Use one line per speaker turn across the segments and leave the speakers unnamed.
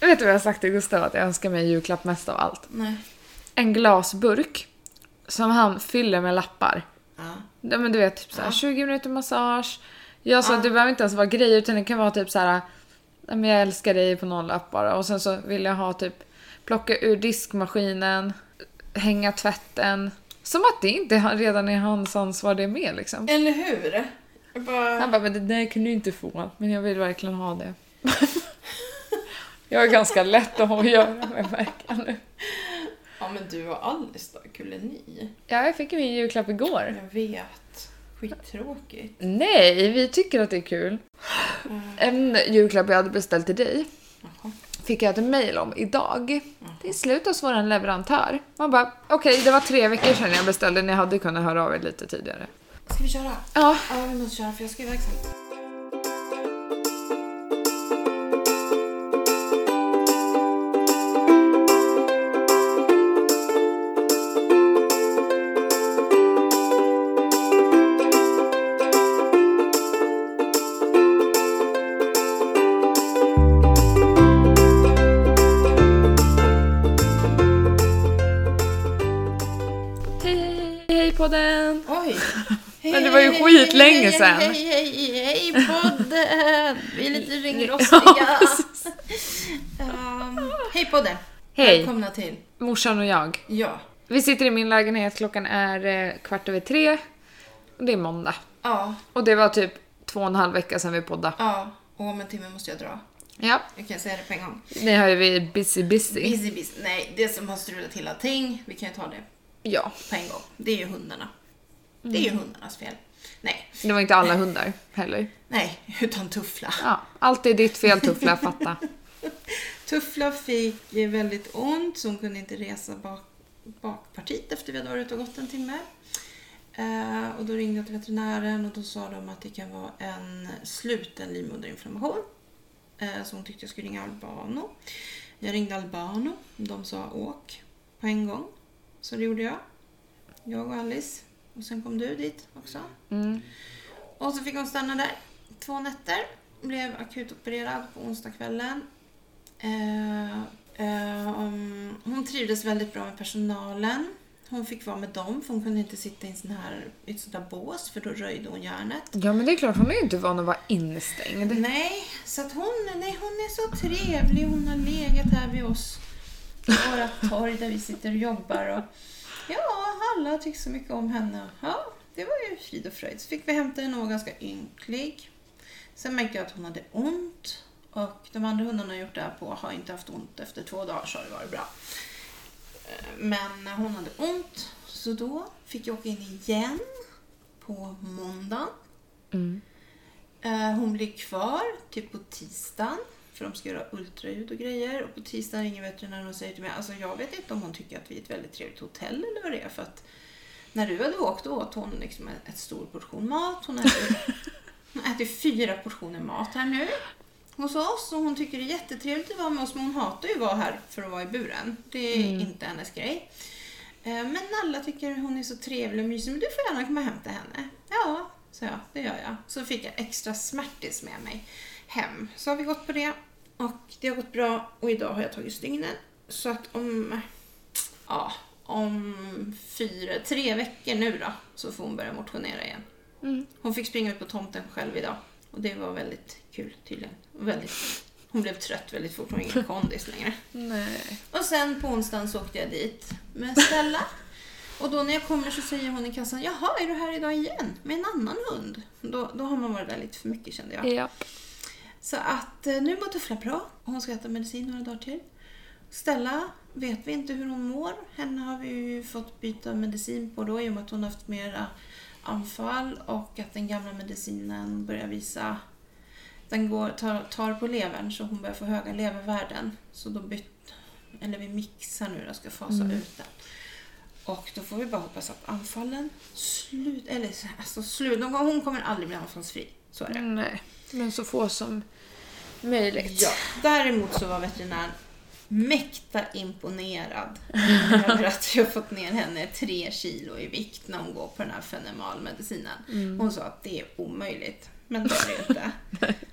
Vet du vad jag har sagt till Gustav att jag önskar mig i julklapp mest av allt?
Nej.
En glasburk som han fyller med lappar.
Ja.
Ja, men du vet, typ såhär,
Ja.
20 minuter massage. Jag sa
Ja.
att det behöver inte ens vara grejer utan det kan vara typ så här. "Ja, men Jag älskar dig på någon lapp bara. Och sen så vill jag ha typ plocka ur diskmaskinen, hänga tvätten. Som att det inte han- redan är hans ansvar det med liksom.
Eller hur? Jag bara...
Han bara, men det där kan du inte få. Men jag vill verkligen ha det. jag är ganska lätt att ha att göra med märker jag nu.
Ja men du och Alice då, kuleni.
Ja, jag fick ju min julklapp igår.
Jag vet. Skittråkigt.
Nej, vi tycker att det är kul. En julklapp jag hade beställt till dig
Jaha.
fick jag ett mejl om idag. Det är slut hos vår leverantör. Man bara, okej det var tre veckor sedan jag beställde, ni hade kunnat höra av er lite tidigare.
Ska vi köra?
Ja,
Ja vi måste köra för jag ska iväg sen.
hej hej hej hej podden!
Oj! Hej,
Men det var ju
hej,
skitlänge
hej,
sen.
Hej hej hej hej podden! Vi är lite
Ja,
ringrostiga. um, hej podden!
Ah. Hej,
Välkomna till.
morsan och jag.
Ja.
Vi sitter i min lägenhet, klockan är eh, kvart över tre. Och det är måndag.
Ja.
Och det var typ två och en halv vecka sedan vi poddade.
Ja. Och om en timme måste jag dra.
Ja,
Jag kan säga det på en gång.
ni hör ju vi är busy busy.
Busy busy. Nej, det som har strulat till allting. Vi kan ju ta det
Ja,
på en gång. Det är ju hundarna. Det är ju hundarnas fel. Nej,
det var inte alla hundar heller.
nej, utan Tuffla.
Ja, allt är ditt fel Tuffla, fatta.
Tuffla fick eh, väldigt ont så hon kunde inte resa bak, bakpartiet efter vi hade varit ute och gått en timme. Eh, och då ringde jag till veterinären och då sa de att det kan vara en sluten livmoderinflammation. Eh, så hon tyckte jag skulle ringa Albano. Jag ringde Albano. De sa åk på en gång. Så det gjorde jag. Jag och Alice. Och sen kom du dit också.
Mm.
Och så fick hon stanna där två nätter. Blev akutopererad på onsdagskvällen. Eh, eh, om- hon trivdes väldigt bra med personalen. Hon fick vara med dem för hon kunde inte sitta i, en sån här, i ett sånt där bås för då röjde hon hjärnet.
Ja men det är klart, hon är ju inte van att vara instängd.
Nej, så att hon, nej, hon är så trevlig. Hon har legat här vid oss på våra torg där vi sitter och jobbar. Och, ja, alla tyckte så mycket om henne. Ja, det var ju frid och fröjd. Så fick vi hämta henne och hon var ganska ynklig. Sen märkte jag att hon hade ont. Och de andra hundarna jag gjort det här på har inte haft ont efter två dagar så har det varit bra. Eh, Men hon hade ont, så då fick jag åka in igen på måndagen.
Mm.
Eh, Hon blir kvar typ på tisdagen. För de ska göra ultraljud och grejer. Och på tisdagen ringer veterinären och säger till mig. Alltså jag vet inte om hon tycker att vi är ett väldigt trevligt hotell eller vad det är. För att när du hade åkt då åt hon liksom en en stor portion mat. Hon äter, hon äter fyra portioner mat här nu. Hos oss och hon tycker det är jättetrevligt att vara med oss men hon hatar ju att vara här för att vara i buren. Det är inte hennes grej. Eh, Men alla tycker hon är så trevlig och mysig men du får gärna komma och hämta henne. Ja, sa jag. Det gör jag. Så fick jag extra smärtis med mig hem. Så har vi gått på det och det har gått bra och idag har jag tagit stygnen. Så att om ja, om fyra, tre veckor nu då, så får hon börja motionera igen.
Mm.
Hon fick springa ut på tomten själv idag. Och det var väldigt kul tydligen. Och Väldigt, hon blev trött väldigt fort, hon har ingen kondis längre.
Nej.
Och sen på onsdagen så åkte jag dit med Stella. Och då när jag kommer så säger hon i kassan, jaha är du här idag igen? Med en annan hund? Då, då har man varit där lite för mycket kände jag.
Ja.
Så att eh, nu mår Tuffla bra och hon ska äta medicin några dagar till. Stella vet vi inte hur hon mår. Henne har vi ju fått byta medicin på då i och med att hon haft mera anfall och att den gamla medicinen börjar visa den går, tar, tar på levern så hon börjar få höga levervärden. Så då bytt, eller vi mixar nu då, ska fasa ut den. Och då får vi bara hoppas att anfallen slut, eller alltså slut, någon gång- hon kommer aldrig bli anfallsfri. Så är det.
Nej. Men så få som möjligt.
Ja. Däremot så var veterinären mäkta imponerad
Mm.
över att jag fått ner henne tre kilo i vikt när hon går på den här fenemalmedicinen.
Mm.
Hon sa att det är omöjligt, men det är det ju inte.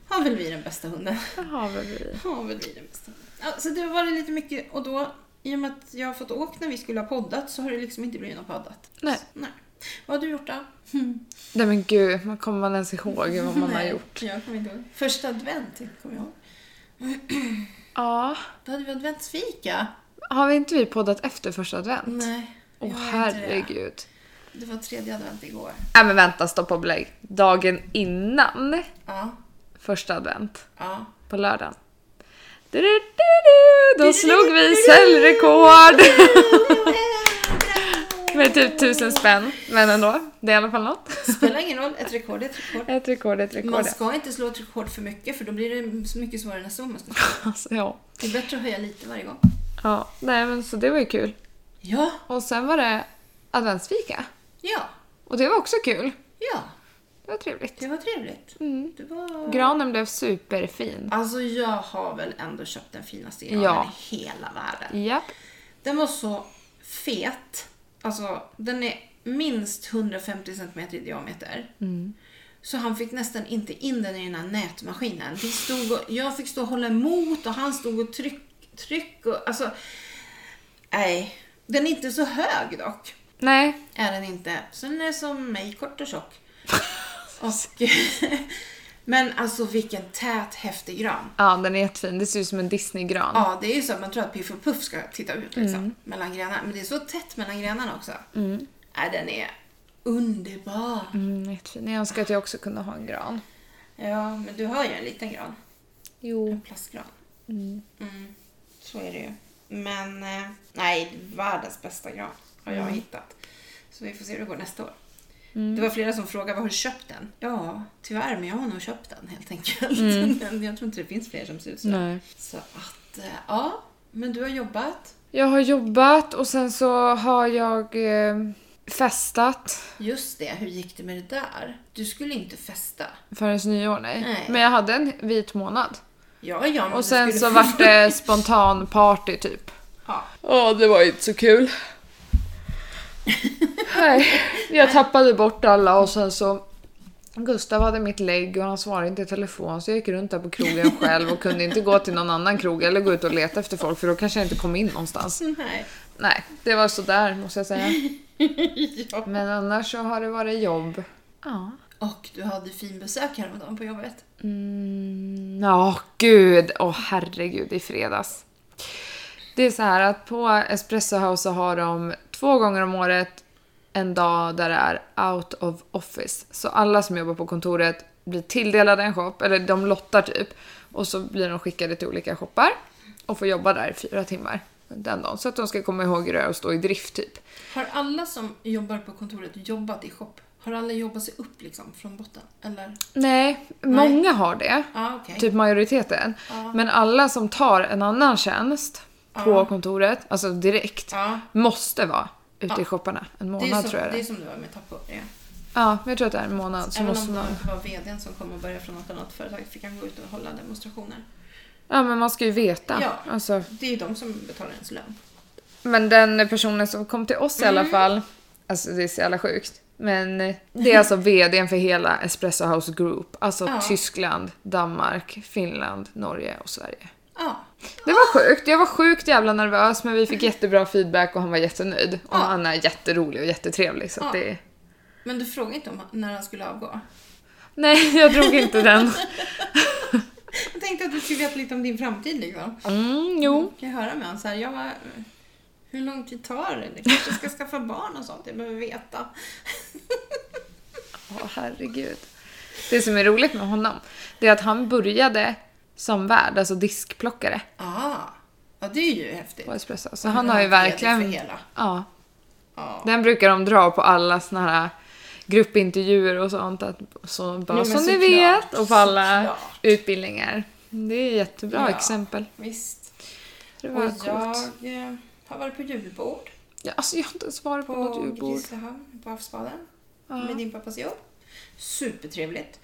Har väl vi den bästa hunden?
Det har väl vi.
Har väl vi den bästa hunden? Ja, så det har varit lite mycket och då, i och med att jag har fått åka när vi skulle ha poddat så har det liksom inte blivit något poddat.
Nej.
Nej. Vad har du gjort då?
Nej men gud, man kommer man ens ihåg vad man har
Nej,
gjort?
Jag kommer inte ihåg. Första advent, kommer jag ihåg.
Ja.
Då hade vi adventsfika.
Har vi inte vi poddat efter första advent?
Nej.
Åh
jag har inte det.
herregud.
Det var tredje advent igår.
Nej men vänta, stopp och belägg. Dagen innan
Ja.
första advent,
Ja.
på lördagen. Du-du-du-du, Då slog vi säljrekord! Med typ tusen spänn, men ändå. Det är i alla fall något.
Spelar ingen roll, ett rekord är ett rekord.
Ett rekord är ett rekord.
Man ska inte slå ett rekord för mycket för då blir det så mycket svårare nästa gång man ska slå.
Alltså, ja.
Det är bättre att höja lite varje gång.
ja. Nej men så det var ju kul.
Ja.
Och sen var det adventsfika.
Ja.
Och det var också kul.
Ja.
Det var trevligt.
Det var trevligt. Det var...
Granen blev superfin.
Mm. Alltså jag har väl ändå köpt den finaste granen
Ja.
i hela världen.
Japp.
Den var så fet. Alltså den är minst 150 cm i diameter. Så han fick nästan inte in den i den här nätmaskinen. Vi stod och, jag fick stå och hålla emot och han stod och tryck, tryck och alltså... Nej. Den är inte så hög dock.
Nej.
Är den inte. Så den är som mig, kort och tjock. Och, men alltså vilken tät, häftig gran.
Ja, den är jättefin. Det ser ut som en Disneygran.
Ja, det är ju så att man tror att Piff och Puff ska titta ut liksom, mellan grenarna. Men det är så tätt mellan grenarna också. Mm. Nej, den är underbar.
Mm, jättefin. Jag önskar att jag också kunde ha en gran.
Ja, men du har ju en liten gran.
Jo.
En plastgran. Mm, Så är det ju. Men eh, nej, världens bästa gran har jag hittat. Så vi får se hur det går nästa år. Det var flera som frågade var har du köpt den? Ja, tyvärr, men jag har nog köpt den helt enkelt. Men jag tror inte det finns fler som ser ut så.
Nej.
Så att, eh, ja. Men du har jobbat.
Jag har jobbat och sen så har jag eh, festat
Just det, hur gick det med det där? Du skulle inte festa.
förrän nyår, nej.
Nej.
Men jag hade en vit månad.
Ja, ja, men du
Och sen
skulle-
så vart det spontan party typ.
Ja.
Ja, det var inte så kul. Nej, jag tappade bort alla och sen så... Gustav hade mitt lägg och han svarade inte i telefon så jag gick runt där på krogen själv och kunde inte gå till någon annan krog eller gå ut och leta efter folk för då kanske jag inte kom in någonstans.
Nej.
Nej, det var sådär måste jag säga.
ja.
Men annars så har det varit jobb. Ja.
Och du hade fin besök häromdagen på jobbet.
Mm, ja, gud. Åh herregud, i fredags. Det är så här att på Espresso House så har de två gånger om året en dag där det är out of office. Så alla som jobbar på kontoret blir tilldelade en shop, eller de lottar typ. Och så blir de skickade till olika shoppar och får jobba där i fyra timmar den dagen. Så att de ska komma ihåg hur det är att stå i drift typ.
Har alla som jobbar på kontoret jobbat i shop? Har alla jobbat sig upp liksom från botten? Eller?
Nej, många har det.
Ja, okej.
Typ majoriteten.
Ja.
Men alla som tar en annan tjänst på
Ja.
kontoret, alltså direkt,
Ja.
måste vara ute
Ja.
i shopparna. En
Det är,
månad
som,
tror jag det
det är
är.
som du var med Tappo. Ja.
Ja, men jag tror att det är en månad. Så
Även
måste
om
man...
det var vdn som kom och började från något annat företag fick han gå ut och hålla demonstrationer.
Ja, men man ska ju veta.
Ja.
Alltså.
Det är ju de som betalar ens lön.
Men den personen som kom till oss
Mm.
i alla fall, alltså det är så jävla sjukt. Men det är alltså VDn för hela Espresso House Group. Alltså
Ja.
Tyskland, Danmark, Finland, Norge och Sverige.
Ja.
Det var sjukt. Jag var sjukt jävla nervös men vi fick jättebra feedback och han var jättenöjd. Och
Ja.
han är jätterolig och jättetrevlig så att
Ja.
det...
Men du frågade inte om han- när han skulle avgå?
Nej, jag drog inte den.
Jag tänkte att du skulle veta lite om din framtid liksom.
Mm, jo.
Kan jag höra med honom så här, jag var... Hur lång tid tar det? Du kanske ska skaffa barn och sånt, jag behöver veta.
Åh herregud. Det som är roligt med honom, det är att han började som värd, alltså diskplockare
Ah. Ja, det är ju häftigt.
på Espresso. Så han har ju verkligen...
För hela.
Ja,
Ja.
den brukar de dra på alla såna här gruppintervjuer och sånt. Att, så, bara
men
som ni
såklart,
vet. Och på alla
såklart.
utbildningar. Det är jättebra
Ja.
exempel.
Visst.
Det
Och
var coolt.
jag eh, har varit på julbord
Ja, alltså jag har inte ens varit på, något
på
julbord.
Grisslehamn på Havsbaden
Ja.
med din pappas jobb. Supertrevligt.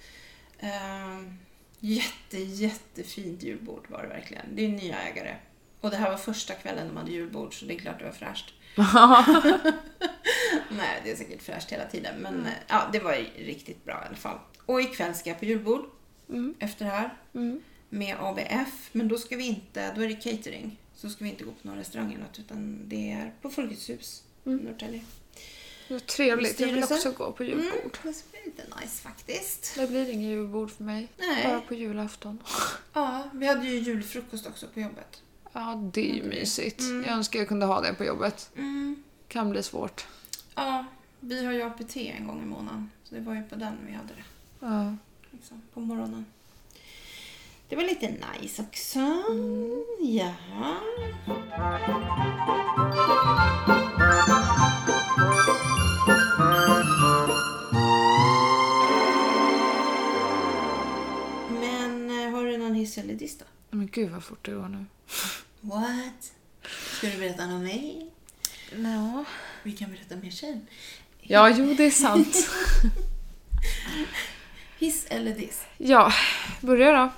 Ehm, jätte, jättefint julbord var det verkligen. Det är nya ägare. Och det här var första kvällen de hade julbord så det är klart det var fräscht. Nej, det är säkert fräscht hela tiden men eh,
Mm,
ja, det var ju riktigt bra i alla fall. Och ikväll ska jag på julbord efter det här. med ABF. Men då ska vi inte, då är det catering. Så ska vi inte gå på någon restaurang eller något, utan det är på Folkets hus i Norrtälje.
Vad trevligt. Jag vill
Styrelsen?
också gå på julbord.
Mm, det ska bli lite nice faktiskt.
Det blir ingen julbord för mig.
Nej.
Bara på julafton.
Ja, vi hade ju julfrukost också på jobbet.
Ja, det är ju mysigt. Jag önskar jag kunde ha det på jobbet.
Mm.
Kan bli svårt.
Ja, vi har ju APT en gång i månaden. Så det var ju på den vi hade det.
Ja.
liksom, på morgonen. Det var lite nice också. Mm. Ja. Men eh, har du någon hiss eller diss då?
Men gud vad fort det går nu.
What? Ska du berätta något om mig?
Ja.
Vi kan berätta mer sen.
Ja, jo det är sant.
Hiss eller diss?
ja, börja då.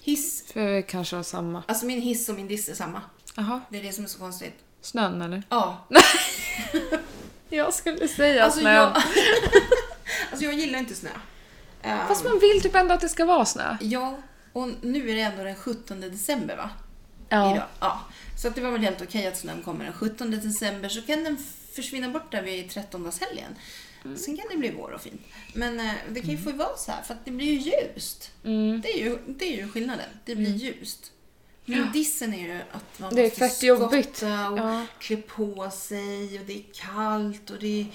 Hiss.
För vi kanske har samma.
Alltså min hiss och min diss är samma.
Jaha,
Det är det som är så konstigt.
snön eller?
Ja,
Jag skulle säga
Alltså
snön.
jag, alltså jag gillar inte snö. Ehm,
Fast man vill typ ändå att det ska vara snö.
Ja, och nu är det ändå den 17 december va? Idag. ja. Så att det var väl helt okej att snön kommer den 17 december så kan den försvinna bort där vid 13-dagshelgen.
Mm.
Sen kan det bli vår och fint. Men eh, det kan ju få vara så här för att det blir ju ljust.
Mm.
Det, är ju, det är ju skillnaden. Det blir ljust. Men dissen är ju att man
Det är
måste
fett jobbigt.
skotta och
Ja.
klä på sig och det är kallt och det är...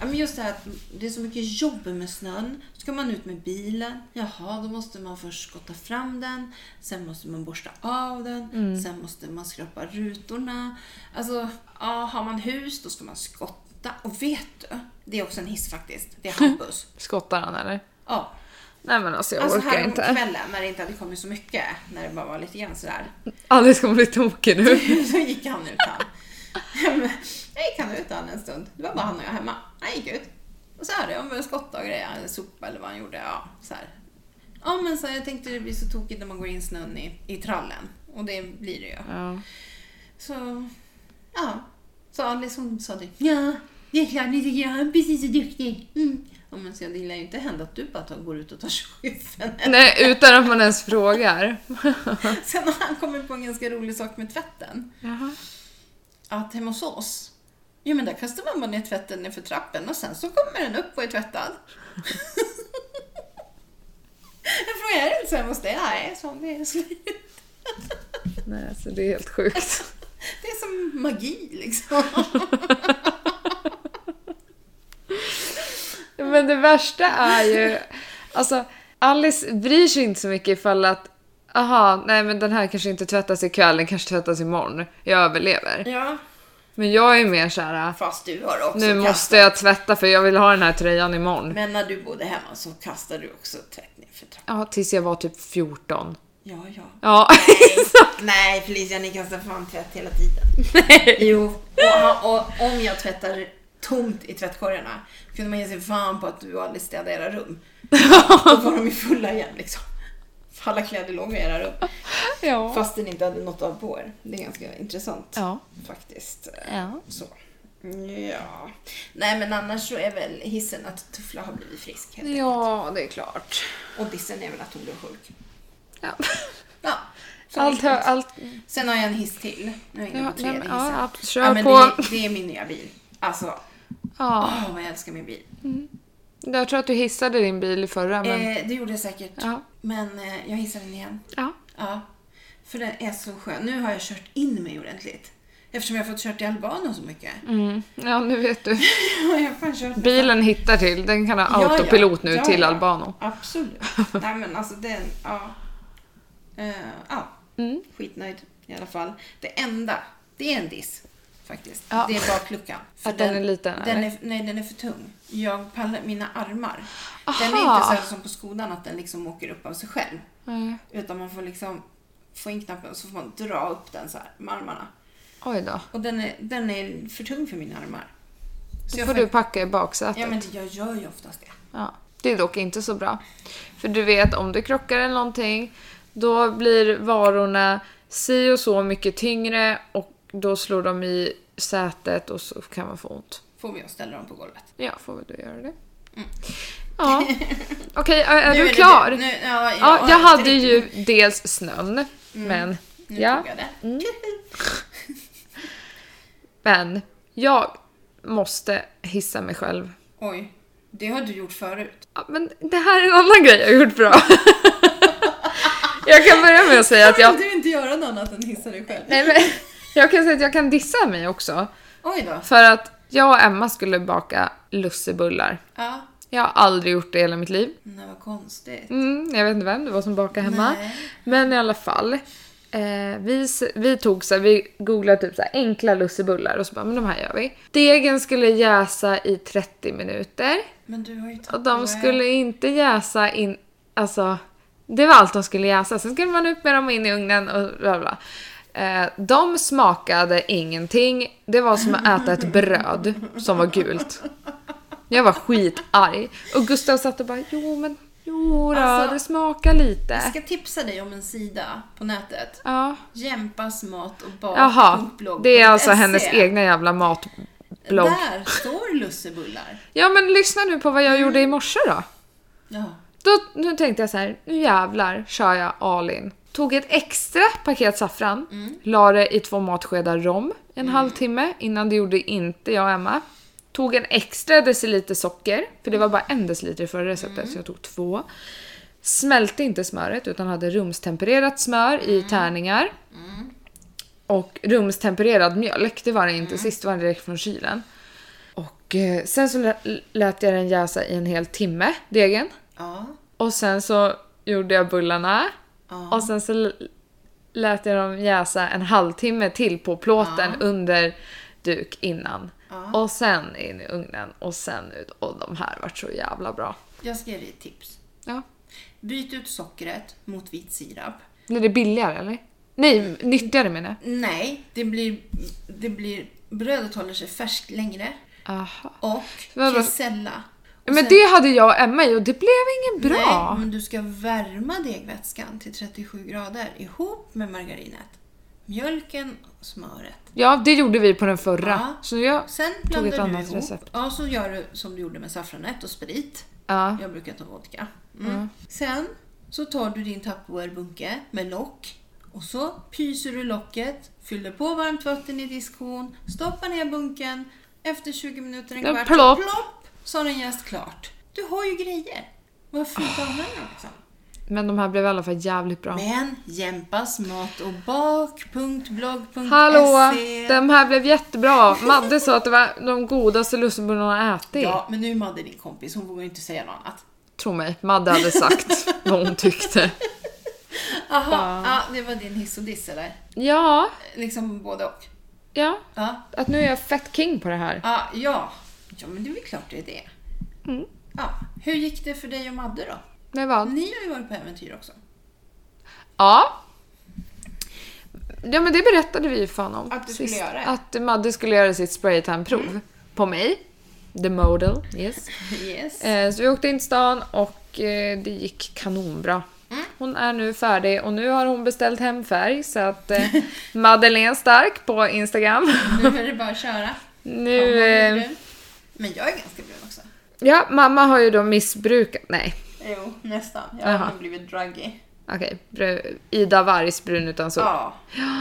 Ja, men just det här att det är så mycket jobb med snön. Ska man ut med bilen, jaha, då måste man först skotta fram den. Sen måste man borsta av den.
Mm.
Sen måste man skrapa rutorna. Alltså, ja, har man hus då ska man skotta. Och vet du? Det är också en hiss faktiskt. Det är Hampus.
Skottar han eller?
Ja.
Nej men alltså jag
Alltså
orkar
här om
inte.
kvällen när det inte hade kommit så mycket, när det bara var lite grann sådär.
Alice kommer bli tokig nu.
Så gick han ut han. Jag gick han ut han en stund. Det var bara han och jag hemma. Han gick ut. Och så här, ja men skotta och grejer, eller sopa eller vad han gjorde. Ja, så här. ja men så här, jag tänkte det blir så tokigt när man går in snön i, i trallen. Och det blir det ju.
Ja.
Så, ja. Så Alice hon sa det. Ja, det är klart ni tycker jag är precis så duktig. Mm. Ja, men så jag, det lär ju inte hända att du bara tar, går ut och tar chefen.
Nej, utan att man ens frågar.
Sen har han kommit på en ganska rolig sak med tvätten.
Jaha.
Att hemma hos oss, ja men där kastar man bara ner tvätten ner för trappen och sen så kommer den upp och är tvättad. Jag frågar, är det inte så hemma hos dig? Nej, så det är slut.
Nej, alltså det är helt sjukt.
Det är som magi liksom.
Men det värsta är ju... Alltså, Alice bryr sig inte så mycket ifall att... Aha, nej men den här kanske inte tvättas ikväll, den kanske tvättas imorgon. Jag överlever.
Ja.
Men jag är mer såhär...
Fast du har också
Nu
kastat.
måste jag tvätta för jag vill ha den här tröjan imorgon.
Men när du bodde hemma så kastade du också tvätt ner för trappen.
Ja, tills jag var typ 14.
Ja, ja.
Ja,
Nej Felicia, ni kastar fan tvätt hela tiden. Jo, och, han- och om jag tvättar tomt i tvättkorgarna kunde man ge sig fan på att du aldrig städade era rum. Då var de ju fulla igen liksom. För Alla kläder låg i era rum
ja.
fast ni inte hade något av på er. Det är ganska intressant
Ja.
faktiskt.
Ja.
Så. Ja. Nej men annars så är väl hissen att Tuffla har blivit frisk. helt enkelt.
Ja, det är klart.
Och dissen är väl att hon blev sjuk.
Ja.
Ja. så
Allt, hör,
enkelt.
allt...
Sen har jag en hiss till. Nu är jag inne
Ja, nej,
på tredje
men,
hissen.
ja, ja, kör
Ja, men
på.
Det, det är min nya bil. Alltså,
Ja.
åh vad jag älskar min bil.
Jag tror att du hissade din bil i förra, men...
Eh, det gjorde jag säkert.
Ja.
Men eh, jag hissar den igen.
Ja.
Ja. För den är så skön. Nu har jag kört in mig ordentligt. Eftersom jag har fått kört i Albano så mycket.
Mm. Ja, nu vet du.
jag har fan kört
Bilen hittar till. Den kan ha autopilot nu
Ja, ja.
till Albano.
Absolut. Nej men alltså den, ja. Eh, ja.
Mm.
Skitnöjd i alla fall. Det enda, det är en diss faktiskt.
Ja.
Det är bakluckan. För
Att den är liten,
Den
eller?
är, nej, den är för tung. Jag pallar mina armar. Den är
Aha.
inte så här som på skolan att den liksom åker upp av sig själv.
Nej.
Utan man får liksom få in knappen och så får man dra upp den så här med armarna.
Oj då.
Och den är, den är för tung för mina armar.
Då får du packa i baksätet.
Ja men jag gör ju oftast det.
Ja, det är dock inte så bra. För du vet, om du krockar eller någonting, då blir varorna si och så mycket tyngre och då slår de i sätet och så kan man få ont.
Får vi att ställa dem på golvet.
Ja, får väl du göra det. Ja. Okej, är, är
Mm. Nu
du
det-
klar?
Nu, ja,
ja, jag hade
direkt.
ju dels snön, men,
Mm. Nu
ja,
tog jag det.
men jag måste hissa mig själv.
Oj, det har du gjort förut.
Ja, men det här är en annan grej jag gjort bra. jag kan börja med att säga att jag...
Kan du inte göra något annat än hissa dig själv?
Nej, men, jag kan säga att jag kan dissa mig också.
Oj då.
För att jag och Emma skulle baka lussebullar.
Ja.
Jag har aldrig gjort det i hela mitt liv.
Nej, vad konstigt.
Mm, jag vet inte vem det var som bakade hemma.
Nej.
Men i alla fall. Eh, vi, s- vi tog så här, vi googlade typ så här, enkla lussebullar och så bara, men de här gör vi. Degen skulle jäsa i 30 minuter.
Men du har ju tagit
Och de skulle inte jäsa in, alltså det var allt de skulle jäsa. Sen skulle man upp med dem in i ugnen och bla bla. Eh, de smakade ingenting. Det var som att äta ett bröd som var gult. Jag var skitarg. Och Gustav satt och bara jo men jo då,
Alltså,
det smakar lite.
Jag ska tipsa dig om en sida på nätet.
Ja.
Jämpas mat och bak.
Jaha,
blogg.
det är alltså
Se.
hennes egna jävla matblogg.
Där står lussebullar.
Ja men lyssna nu på vad
Mm.
jag gjorde i morse då.
Ja.
Då, nu tänkte jag så här, nu jävlar kör jag all in. Tog ett extra paket saffran, la det i två matskedar rom en halvtimme. Innan det gjorde inte jag och Emma. Tog en extra deciliter socker, för det var bara en deciliter i förra receptet så jag tog två. Smälte inte smöret utan hade rumstempererat smör i tärningar. Och rumstempererad mjölk, det var det inte sist, det var direkt från kylen. Och eh, sen så lä- lät jag den jäsa i en hel timme, degen.
Ja.
Och sen så gjorde jag bullarna.
Ja.
Och sen så l- lät jag dem jäsa en halvtimme till på plåten under duk innan. Och sen in i ugnen och sen ut. Och de här vart så jävla bra.
Jag ska ge dig ett tips.
Ja.
Byt ut sockret mot vit sirap.
Blir det billigare eller? Nej, nyttigare menar jag.
Nej, det blir, det blir... Brödet håller sig färskt längre.
Aha.
Och
Vadå?
kesella. Och
Men
sen-
det hade jag och Emma i och det blev inget bra.
Nej, men du ska värma degvätskan till 37 grader ihop med margarinet, mjölken och smöret.
Ja, det gjorde vi på den förra.
Ja.
Så jag...
Sen
ett
blandar du
annat
ihop.
recept.
Ja, så gör du som du gjorde med saffranet och sprit.
Ja.
Jag brukar ta vodka. Mm. Sen så tar du din Tupperware-bunke med lock och så pyser du locket, fyller på varmt vatten i diskhon, stoppar ner bunken. Efter 20 minuter, en
Ja,
kvart,
plopp.
så plopp, så har den jäst klart. Du har ju grejer. Varför inte använda dem liksom?
Men de här blev i alla fall jävligt bra.
Men Jämpas mat och bak.blogg.se
Hallå!
E.
De här blev jättebra. Madde sa att det var de godaste lussebullarna hon har ätit.
Ja, men nu är Madde din kompis, hon vågar inte säga något annat.
Tro mig, Madde hade sagt vad hon tyckte.
Jaha, ja. det var din hiss och diss eller?
Ja,
Liksom både och?
ja.
Ja.
Att nu är jag fett king på det här.
Ja, ja. ja men det är väl klart det är det.
Mm.
Ja. Hur gick det för dig och Madde då?
Med vad?
Ni har ju varit på äventyr också.
Ja. Ja men det berättade vi ju fan om.
Att du skulle göra det. Mm.
Att Madde skulle göra sitt spraytan-prov på mig. The model, yes.
Yes.
Eh, Så vi åkte in till stan och eh, det gick kanonbra.
Mm.
Hon är nu färdig och nu har hon beställt hem färg så att eh, Madeleine Stark på Instagram.
Nu är det bara att köra. Mm. Ja,
Nu...
vad är
eh,
du? Men jag är ganska brun också.
Ja, mamma har ju då missbrukat... Nej,
Jo, nästan. Jag
Jaha.
har blivit druggig.
okej. Bru- Ida Vargs brun utan sol.
Ja.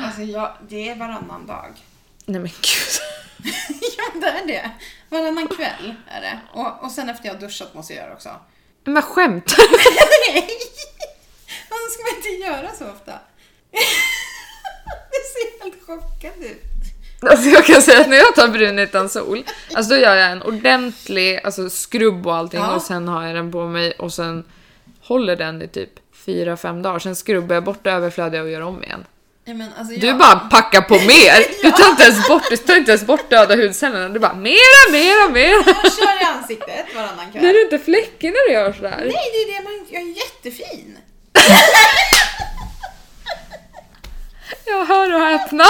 Alltså jag, det är varannan dag.
Nej men gud.
ja, det är det. Varannan kväll är det. Och, och sen efter jag har duschat måste jag göra också.
Men skämtar du?
Nej! Varför ska man inte göra så ofta? det ser helt chockad ut.
Alltså jag kan säga att när jag tar brun utan sol, alltså då gör jag en ordentlig alltså skrubb och allting
Ja.
och sen har jag den på mig och sen håller den i typ 4-5 dagar. Sen skrubbar jag bort det överflödiga och gör om igen.
Ja, men alltså jag,
Du bara packar på mer! Du tar inte ens bort, du tar inte ens bort döda hudcellerna. Du bara mera, mera, mera!
Jag kör i ansiktet varannan kväll.
Det är inte fläckar när du gör sådär.
Nej, det är det man Jag är jättefin.
Jag hör och häpna.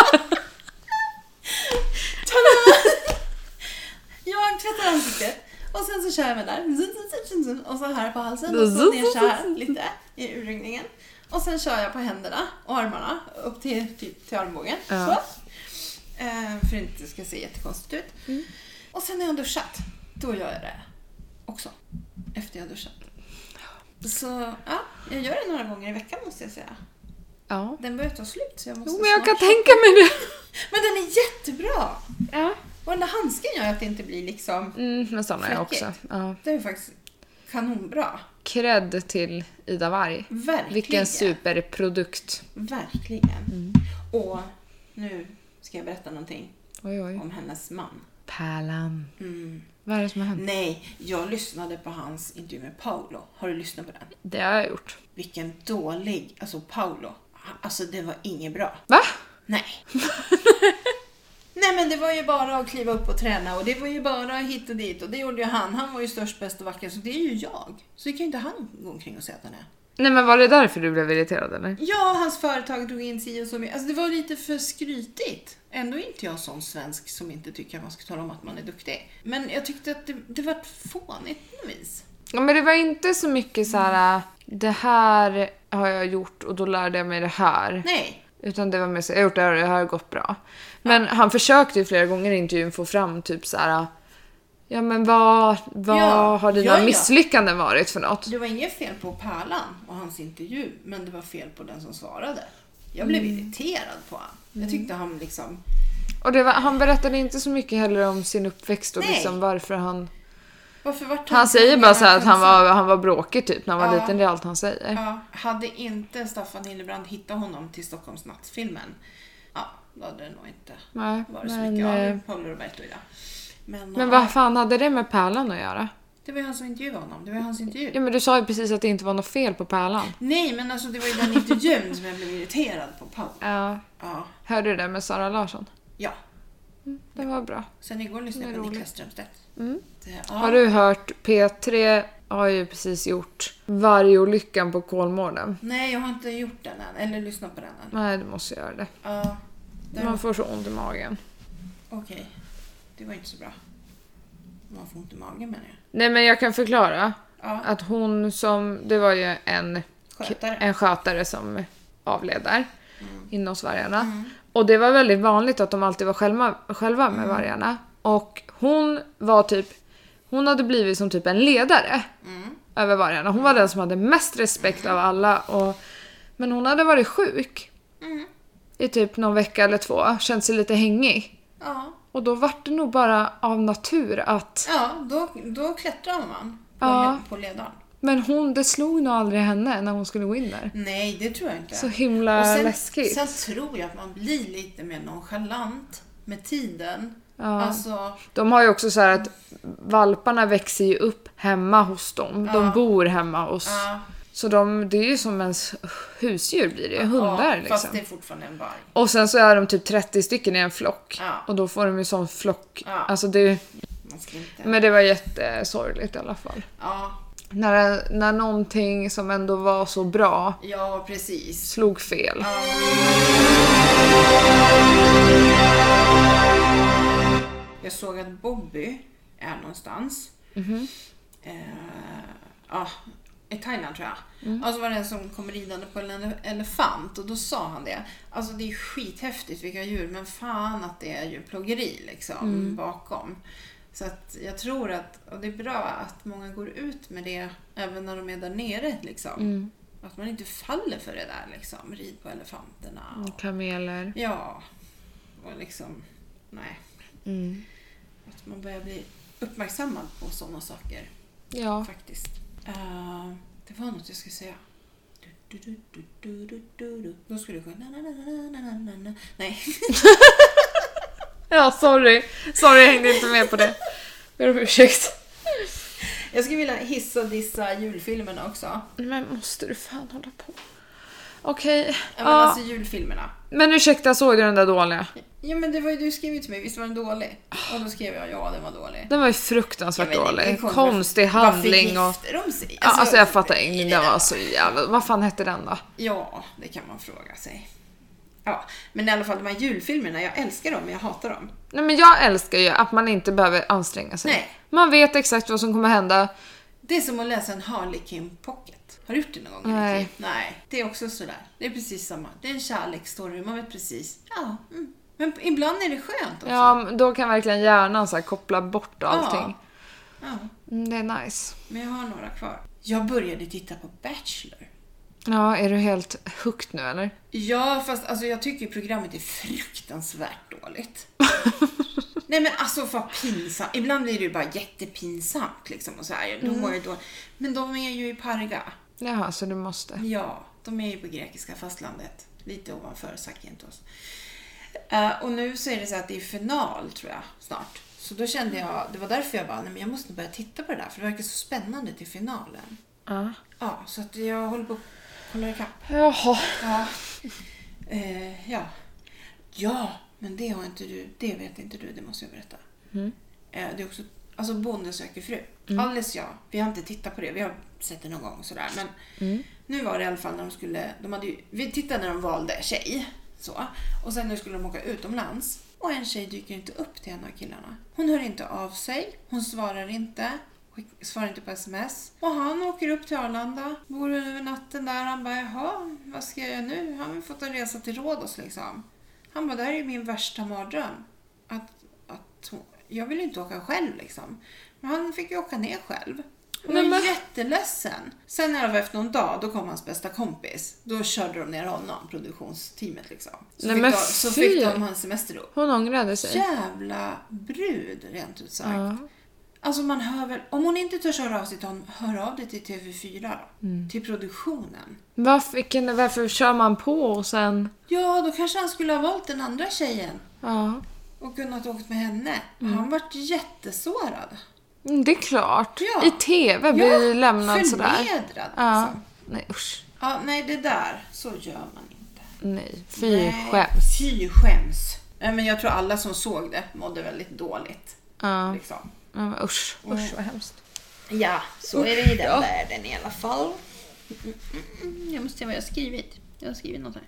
Jag tvättar ansiktet och sen så kör jag med där. Zun, zun, zun, zun, zun. Och så här på halsen och så ner så här lite i urringningen. Och sen kör jag på händerna och armarna upp till, typ, till armbågen.
Ja.
Så.
Mm.
Eh, för att det inte ska se jättekonstigt ut. Och sen när jag har duschat, då gör jag det. också. Efter jag duschat. Så ja, jag gör det några gånger i veckan måste jag säga.
Ja.
Den börjar ta slut så jag måste
Jo, men jag
snart
kan tänka mig det.
Men den är jättebra!
Ja.
Och den där handsken gör att det inte blir liksom...
Mm, men såna är jag också.
Fräckigt.
Ja.
Det är faktiskt kanonbra.
Cred till Ida Warg.
Verkligen.
Vilken Mm. superprodukt.
Verkligen. Och nu ska jag berätta någonting
Oj, oj. Mm.
om hennes man.
Pärlan. Vad är det som har hänt?
Nej, jag lyssnade på hans intervju med Paolo. Har du lyssnat på den?
Det har jag gjort.
Vilken dålig... Alltså Paolo. Alltså det var inget bra.
Va?
Nej. Nej men det var ju bara att kliva upp och träna och det var ju bara hit och dit och det gjorde ju han. Han var ju störst, bäst och vacker så det är ju jag. Så det kan ju inte han gå omkring och säga att han är.
Nej men var det därför du blev irriterad eller?
Ja, hans företag drog in si och så mycket. Alltså det var lite för skrytigt. Ändå är inte jag sån svensk som inte tycker att man ska tala om att man är duktig. Men jag tyckte att det, det var fånigt på något vis.
Ja, men det var inte så mycket så här. äh, det här har jag gjort och då lärde jag mig det här.
Nej,
Utan det var mer så jag har gjort det här och det här har gått bra. Men han försökte ju flera gånger i intervjun få fram typ så här. ja men vad, vad
Ja,
har dina
ja, ja.
misslyckanden varit för något?
det var inget fel på Pärlan och hans intervju, men det var fel på den som svarade. Jag blev irriterad på honom. Jag tyckte han liksom...
Och det var, han berättade inte så mycket heller om sin uppväxt och
Nej.
liksom varför han...
Varför vart
Han säger bara så här att han
ensam?
var, han var bråkig typ när han var
Ja.
liten, det är allt han säger.
Ja, hade inte Staffan Hillebrand hittat honom till Stockholmsnattsfilmen, ja, då hade det nog inte
Nej,
varit så
men,
mycket
eh,
av Paolo Roberto idag. Men,
Men
ja,
vad fan hade det med Pärlan att göra?
det var ju han som intervjuade honom. Det var ju hans intervju.
Ja men du sa ju precis att det inte var något fel på Pärlan.
Nej, men alltså det var ju den intervjun som jag blev irriterad på Paolo.
Ja.
Ja,
Hörde du det med Sara Larsson?
ja.
Det var bra.
Sen igår lyssnade
Det är
jag på
roligt.
Niklas Strömstedt.
Mm.
Det,
Har
ja.
du hört? P3 har ju precis gjort Vargolyckan på Kolmården.
Nej, jag har inte gjort den än. Eller lyssnat på den än.
Nej, du måste göra det.
Ja, den-
Man får så ont i magen.
okej. Det var inte så bra. Man får ont i magen menar jag.
Nej men jag kan förklara.
Ja,
Att hon som, det var ju en,
skötare. Mm.
en skötare som avled där. Inne hos vargarna. Och det var väldigt vanligt att de alltid var själva, själva med
Mm.
vargarna. Och hon var typ, hon hade blivit som typ en ledare.
Mm.
över vargarna. Hon var den som hade mest respekt av alla. Och, men hon hade varit sjuk
Mm.
i typ någon vecka eller två, känt sig lite hängig.
Ja.
Och då var det nog bara av natur att...
Ja, då, då klättrar man på,
Ja.
le- på ledaren.
Men hon, det slog nog aldrig henne när hon skulle gå in där.
Nej, det tror jag inte.
Så himla
Och sen,
läskigt.
Sen tror jag att man blir lite mer nonchalant med tiden.
Ja.
Alltså,
De har ju också så här att valparna växer ju upp hemma hos dem. De
Ja.
bor hemma hos...
ja,
Så de, det är ju som ens husdjur blir det, hundar
ja,
liksom.
Fast det är fortfarande en varg.
Och sen så är de typ 30 stycken i en flock.
Ja.
Och då får de ju sån flock...
Ja.
Alltså det är ju...
Man ska inte...
Men det var jättesorgligt i alla fall.
Ja,
När, när någonting som ändå var så bra
ja, precis.
slog fel.
Jag såg att Bobby är någonstans. Eh, ja, I Thailand tror jag. Och så var det en som kom ridande på en ele- elefant och då sa han det. Alltså det är skithäftigt vilka djur men fan att det är djurplågeri liksom bakom. Så att jag tror att, och det är bra att många går ut med det även när de är där nere liksom. Att man inte faller för det där liksom. Rid på elefanterna. och-
Kameler.
Ja. Och liksom, nej.
Mm.
Att man börjar bli uppmärksammad på sådana saker
Ja.
faktiskt. Eh, det var något jag skulle säga. Du, du, du, du, du, du, du. Då skulle du sjunga... na, na, na, na, na, na, na. Nej,
Ja, sorry. Sorry, jag hängde inte med på det. Ber om ursäkt.
jag skulle vilja hissa och dissa julfilmerna också.
Men måste du fan hålla på? Okej. Men,
Ja, men alltså julfilmerna.
men ursäkta, såg du den där dåliga?
Ja men det var ju du skrev ju till mig, visst var den dålig? Och då skrev jag ja den var dålig.
Den var ju
Ja,
fruktansvärt
men det är
dålig.
konstigt.
Konstig handling och...
Varför gifter de sig?
Ja, alltså jag fattar inte. Den var så jävla... Vad fan hette den då?
Ja, det kan man fråga sig. Ja, men i alla fall de här julfilmerna, jag älskar dem men jag hatar dem.
Nej men jag älskar ju att man inte behöver anstränga sig.
Nej.
Man vet exakt vad som kommer hända.
Det är som att läsa en Harlequin pocket. Har du gjort det någon gång i ditt
Nej.
liv? Nej. Det är också sådär. Det är precis samma. Det är en kärleksstory, man vet precis. Ja, mm. Men ibland är det skönt också.
Ja, men då kan verkligen hjärnan så här koppla bort
Ja.
allting.
Ja,
Mm, det är nice.
men jag har några kvar. Jag började titta på Bachelor.
Ja, är du helt hooked nu eller?
Ja, fast alltså, jag tycker ju programmet är fruktansvärt dåligt. Nej men alltså vad pinsamt. Ibland blir det ju bara jättepinsamt liksom och så här. De
Mm.
mår ju då... Men de är ju i Parga.
Jaha, så du måste.
Ja, de är ju på grekiska fastlandet. Lite ovanför Sakintos. Eh, och nu så är det så att det är final tror jag snart. Så då kände jag, det var därför jag bara, nej men jag måste nog börja titta på det där för det verkar så spännande till finalen.
Ja.
Ja, så att jag håller på och kollar ikapp.
Jaha.
Ja. Eh, ja. Ja, men det har inte du. Det vet inte du. Det måste jag berätta. Eh, det är också, alltså Bonde söker fru. Alice ja, vi har inte tittat på det. Vi har sett det någon gång sådär. Men nu var det i alla fall när de skulle... De hade ju, vi tittade när de valde tjej. Så. Och sen nu skulle de åka utomlands. Och en tjej dyker inte upp till en av killarna. Hon hör inte av sig. Hon svarar inte. skick- Svarar inte på sms. Och han åker upp till Arlanda. Bor över natten där. Han bara, jaha, vad ska jag göra nu? Han har väl fått en resa till Rhodos liksom. Han bara, det här är ju min värsta mardröm. Att, att hon, jag vill inte åka själv liksom. Men han fick ju åka ner själv. Han
Nej,
var
men-
jätteledsen. Sen när det var efter någon dag, då kom hans bästa kompis. Då körde de ner honom, produktionsteamet liksom. Så,
Nej,
fick,
men
de, så
fy.
fick de hans semester upp.
Hon ångrade sig.
Jävla brud, rent ut sagt.
Ja.
Alltså man hör väl, om hon inte törs höra av sig till honom, hör av dig till TV4 då.
Mm.
Till produktionen.
Varför, vilken, varför kör man på och sen...
Ja, då kanske han skulle ha valt den andra tjejen
Ja.
och kunnat åkt med henne. Han vart jättesårad.
Mm, Det är klart.
Ja.
I TV blir lämnad sådär.
förnedrad
Ja.
liksom.
Nej usch.
Ja, nej det där, så gör man inte.
Nej. Fy
Nej,
skäms.
Fy skäms. Nej, men jag tror alla som såg det mådde väldigt dåligt.
Ja.
Liksom.
Men usch. Usch vad hemskt.
Ja, så är det i den världen i alla fall. Mm, Jag måste se vad jag har skrivit. Jag har skrivit något här.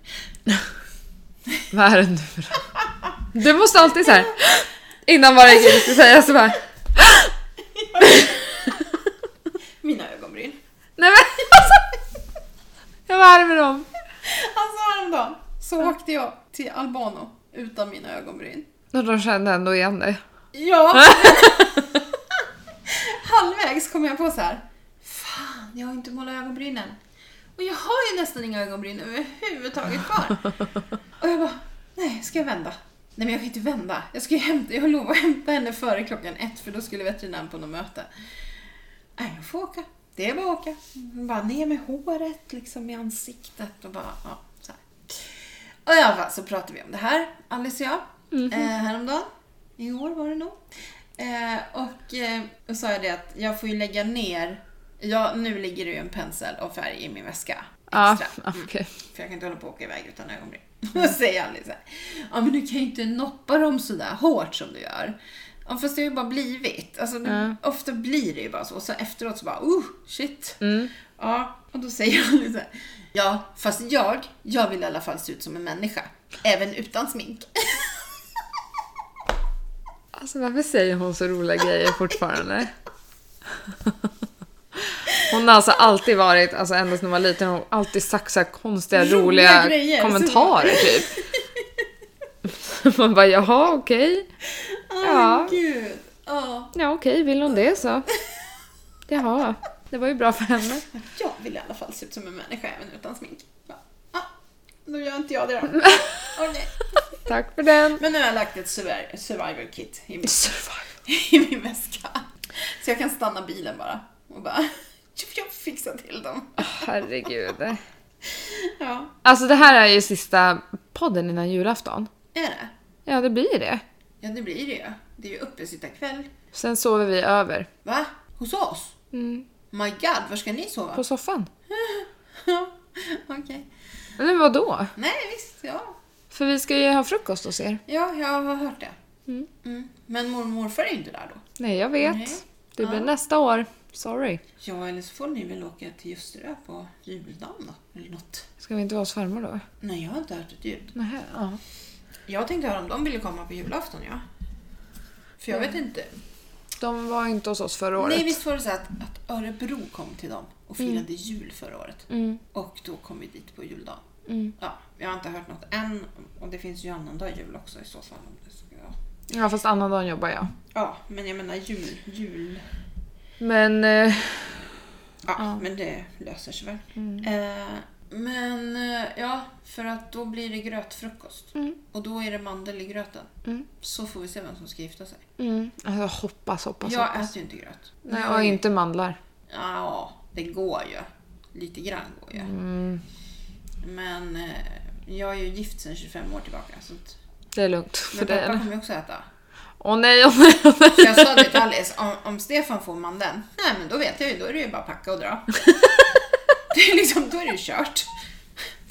Vad är det nu då? Du måste alltid så här. Innan varje grej du ska säga så bara.
Mina ögonbryn.
Nej men alltså. Jag var med dem.
Alltså häromdagen så åkte jag till Albano utan mina ögonbryn.
Och de kände ändå igen dig.
Ja! Halvvägs kom jag på så här. Fan, jag har inte målat ögonbrynen. Och jag har ju nästan inga ögonbryn överhuvudtaget kvar. Och jag bara, nej, ska jag vända? Nej men jag kan inte vända. Jag ska ju hämta, jag har lov att hämta henne före klockan ett för då skulle veterinären på något möte. Nej, jag får åka. Det är bara att åka. Bara ner med håret, liksom i ansiktet och bara, ja, så här. Och i alla fall så pratade vi om det här, Alice och jag,
Mhm.
eh, häromdagen. Igår var det nog. Eh, och eh, och sa jag det att jag får ju lägga ner, ja, nu ligger det ju en pensel och färg i min väska.
Ja,
Extra.
okej.
För jag kan inte hålla på och åka iväg utan ögonbryn. Då säger Alice så här, ja men du kan ju inte noppa dem sådär hårt som du gör. Ja, fast det har ju bara blivit. Alltså, det, Ofta blir det ju bara så. Och så efteråt så bara, oh shit. Ja, och då säger Alice så här, ja fast jag, jag vill i alla fall se ut som en människa. Även utan smink.
Alltså varför säger hon så roliga grejer fortfarande? Hon har alltså alltid varit, alltså ända sedan hon var liten, hon har alltid sagt så här konstiga,
Roliga
roliga,
grejer, så-
kommentarer typ. Man bara jaha okej,
Åh
Ja.
gud. Ja,
ja okej, vill hon det så. Jaha, det var ju bra för henne.
jag vill i alla fall se ut som en människa även utan smink. Ja, ja, då gör inte jag det då. Okej.
Tack för den.
Men nu har jag lagt ett survi- survivor kit i min,
Survivor.
i min väska. Så jag kan stanna bilen bara och bara jag fixar till dem.
Ah. Herregud.
Ja,
Alltså det här är ju sista podden innan julafton.
är det?
Ja det blir det.
Ja, det blir det ju. Det är ju uppesittarkväll.
Sen sover vi över.
Va? Hos oss?
Mm,
My god, var ska ni sova?
på soffan.
Okej.
Men vadå?
Nej, visst. Ja.
För vi ska ju ha frukost hos er.
ja, jag har hört det.
Mm.
Men mormor och morfar är ju inte där då.
Nej, jag vet.
Nej.
Det blir
Ja.
nästa år. Sorry.
Ja, eller så får ni väl åka till Ljusterö på juldagen då, eller något.
Ska vi inte vara hos farmor då?
Nej, jag har inte hört ett ljud.
Nähä, ja.
Jag tänkte höra om de ville komma på julafton, ja. För jag vet inte.
De var inte hos oss förra året.
Nej, visst var det så att, att Örebro kom till dem och firade jul förra året.
Mm,
Och då kom vi dit på juldagen.
mm.
Ja, jag har inte hört något än. Och det finns ju annandag jul också i så fall. Om det ska...
Ja, fast annandagen jobbar jag.
Ja, men jag menar jul, jul,
Men eh,
Ja,
Ja.
men det löser sig väl.
Mm.
Eh, men eh, ja, för att då blir det grötfrukost. Och då är det mandel i gröten.
Mm.
Så får vi se vem som ska gifta sig.
mm, alltså, hoppas, hoppas,
jag
hoppas.
äter ju inte gröt.
Nej,
Jag
och
är-
inte mandlar.
Ja, det går ju. Lite grann går ju.
Mm,
Men eh, jag är ju gift sedan 25 år tillbaka. Så att,
det är lugnt för
men pappa
dig.
kommer ju också äta.
Åh nej, åh nej, åh nej.
Så jag sa det till Alice, om, om Stefan får mandeln, nej men då vet jag ju, då är det ju bara att packa och dra. Det är liksom, då är det ju kört.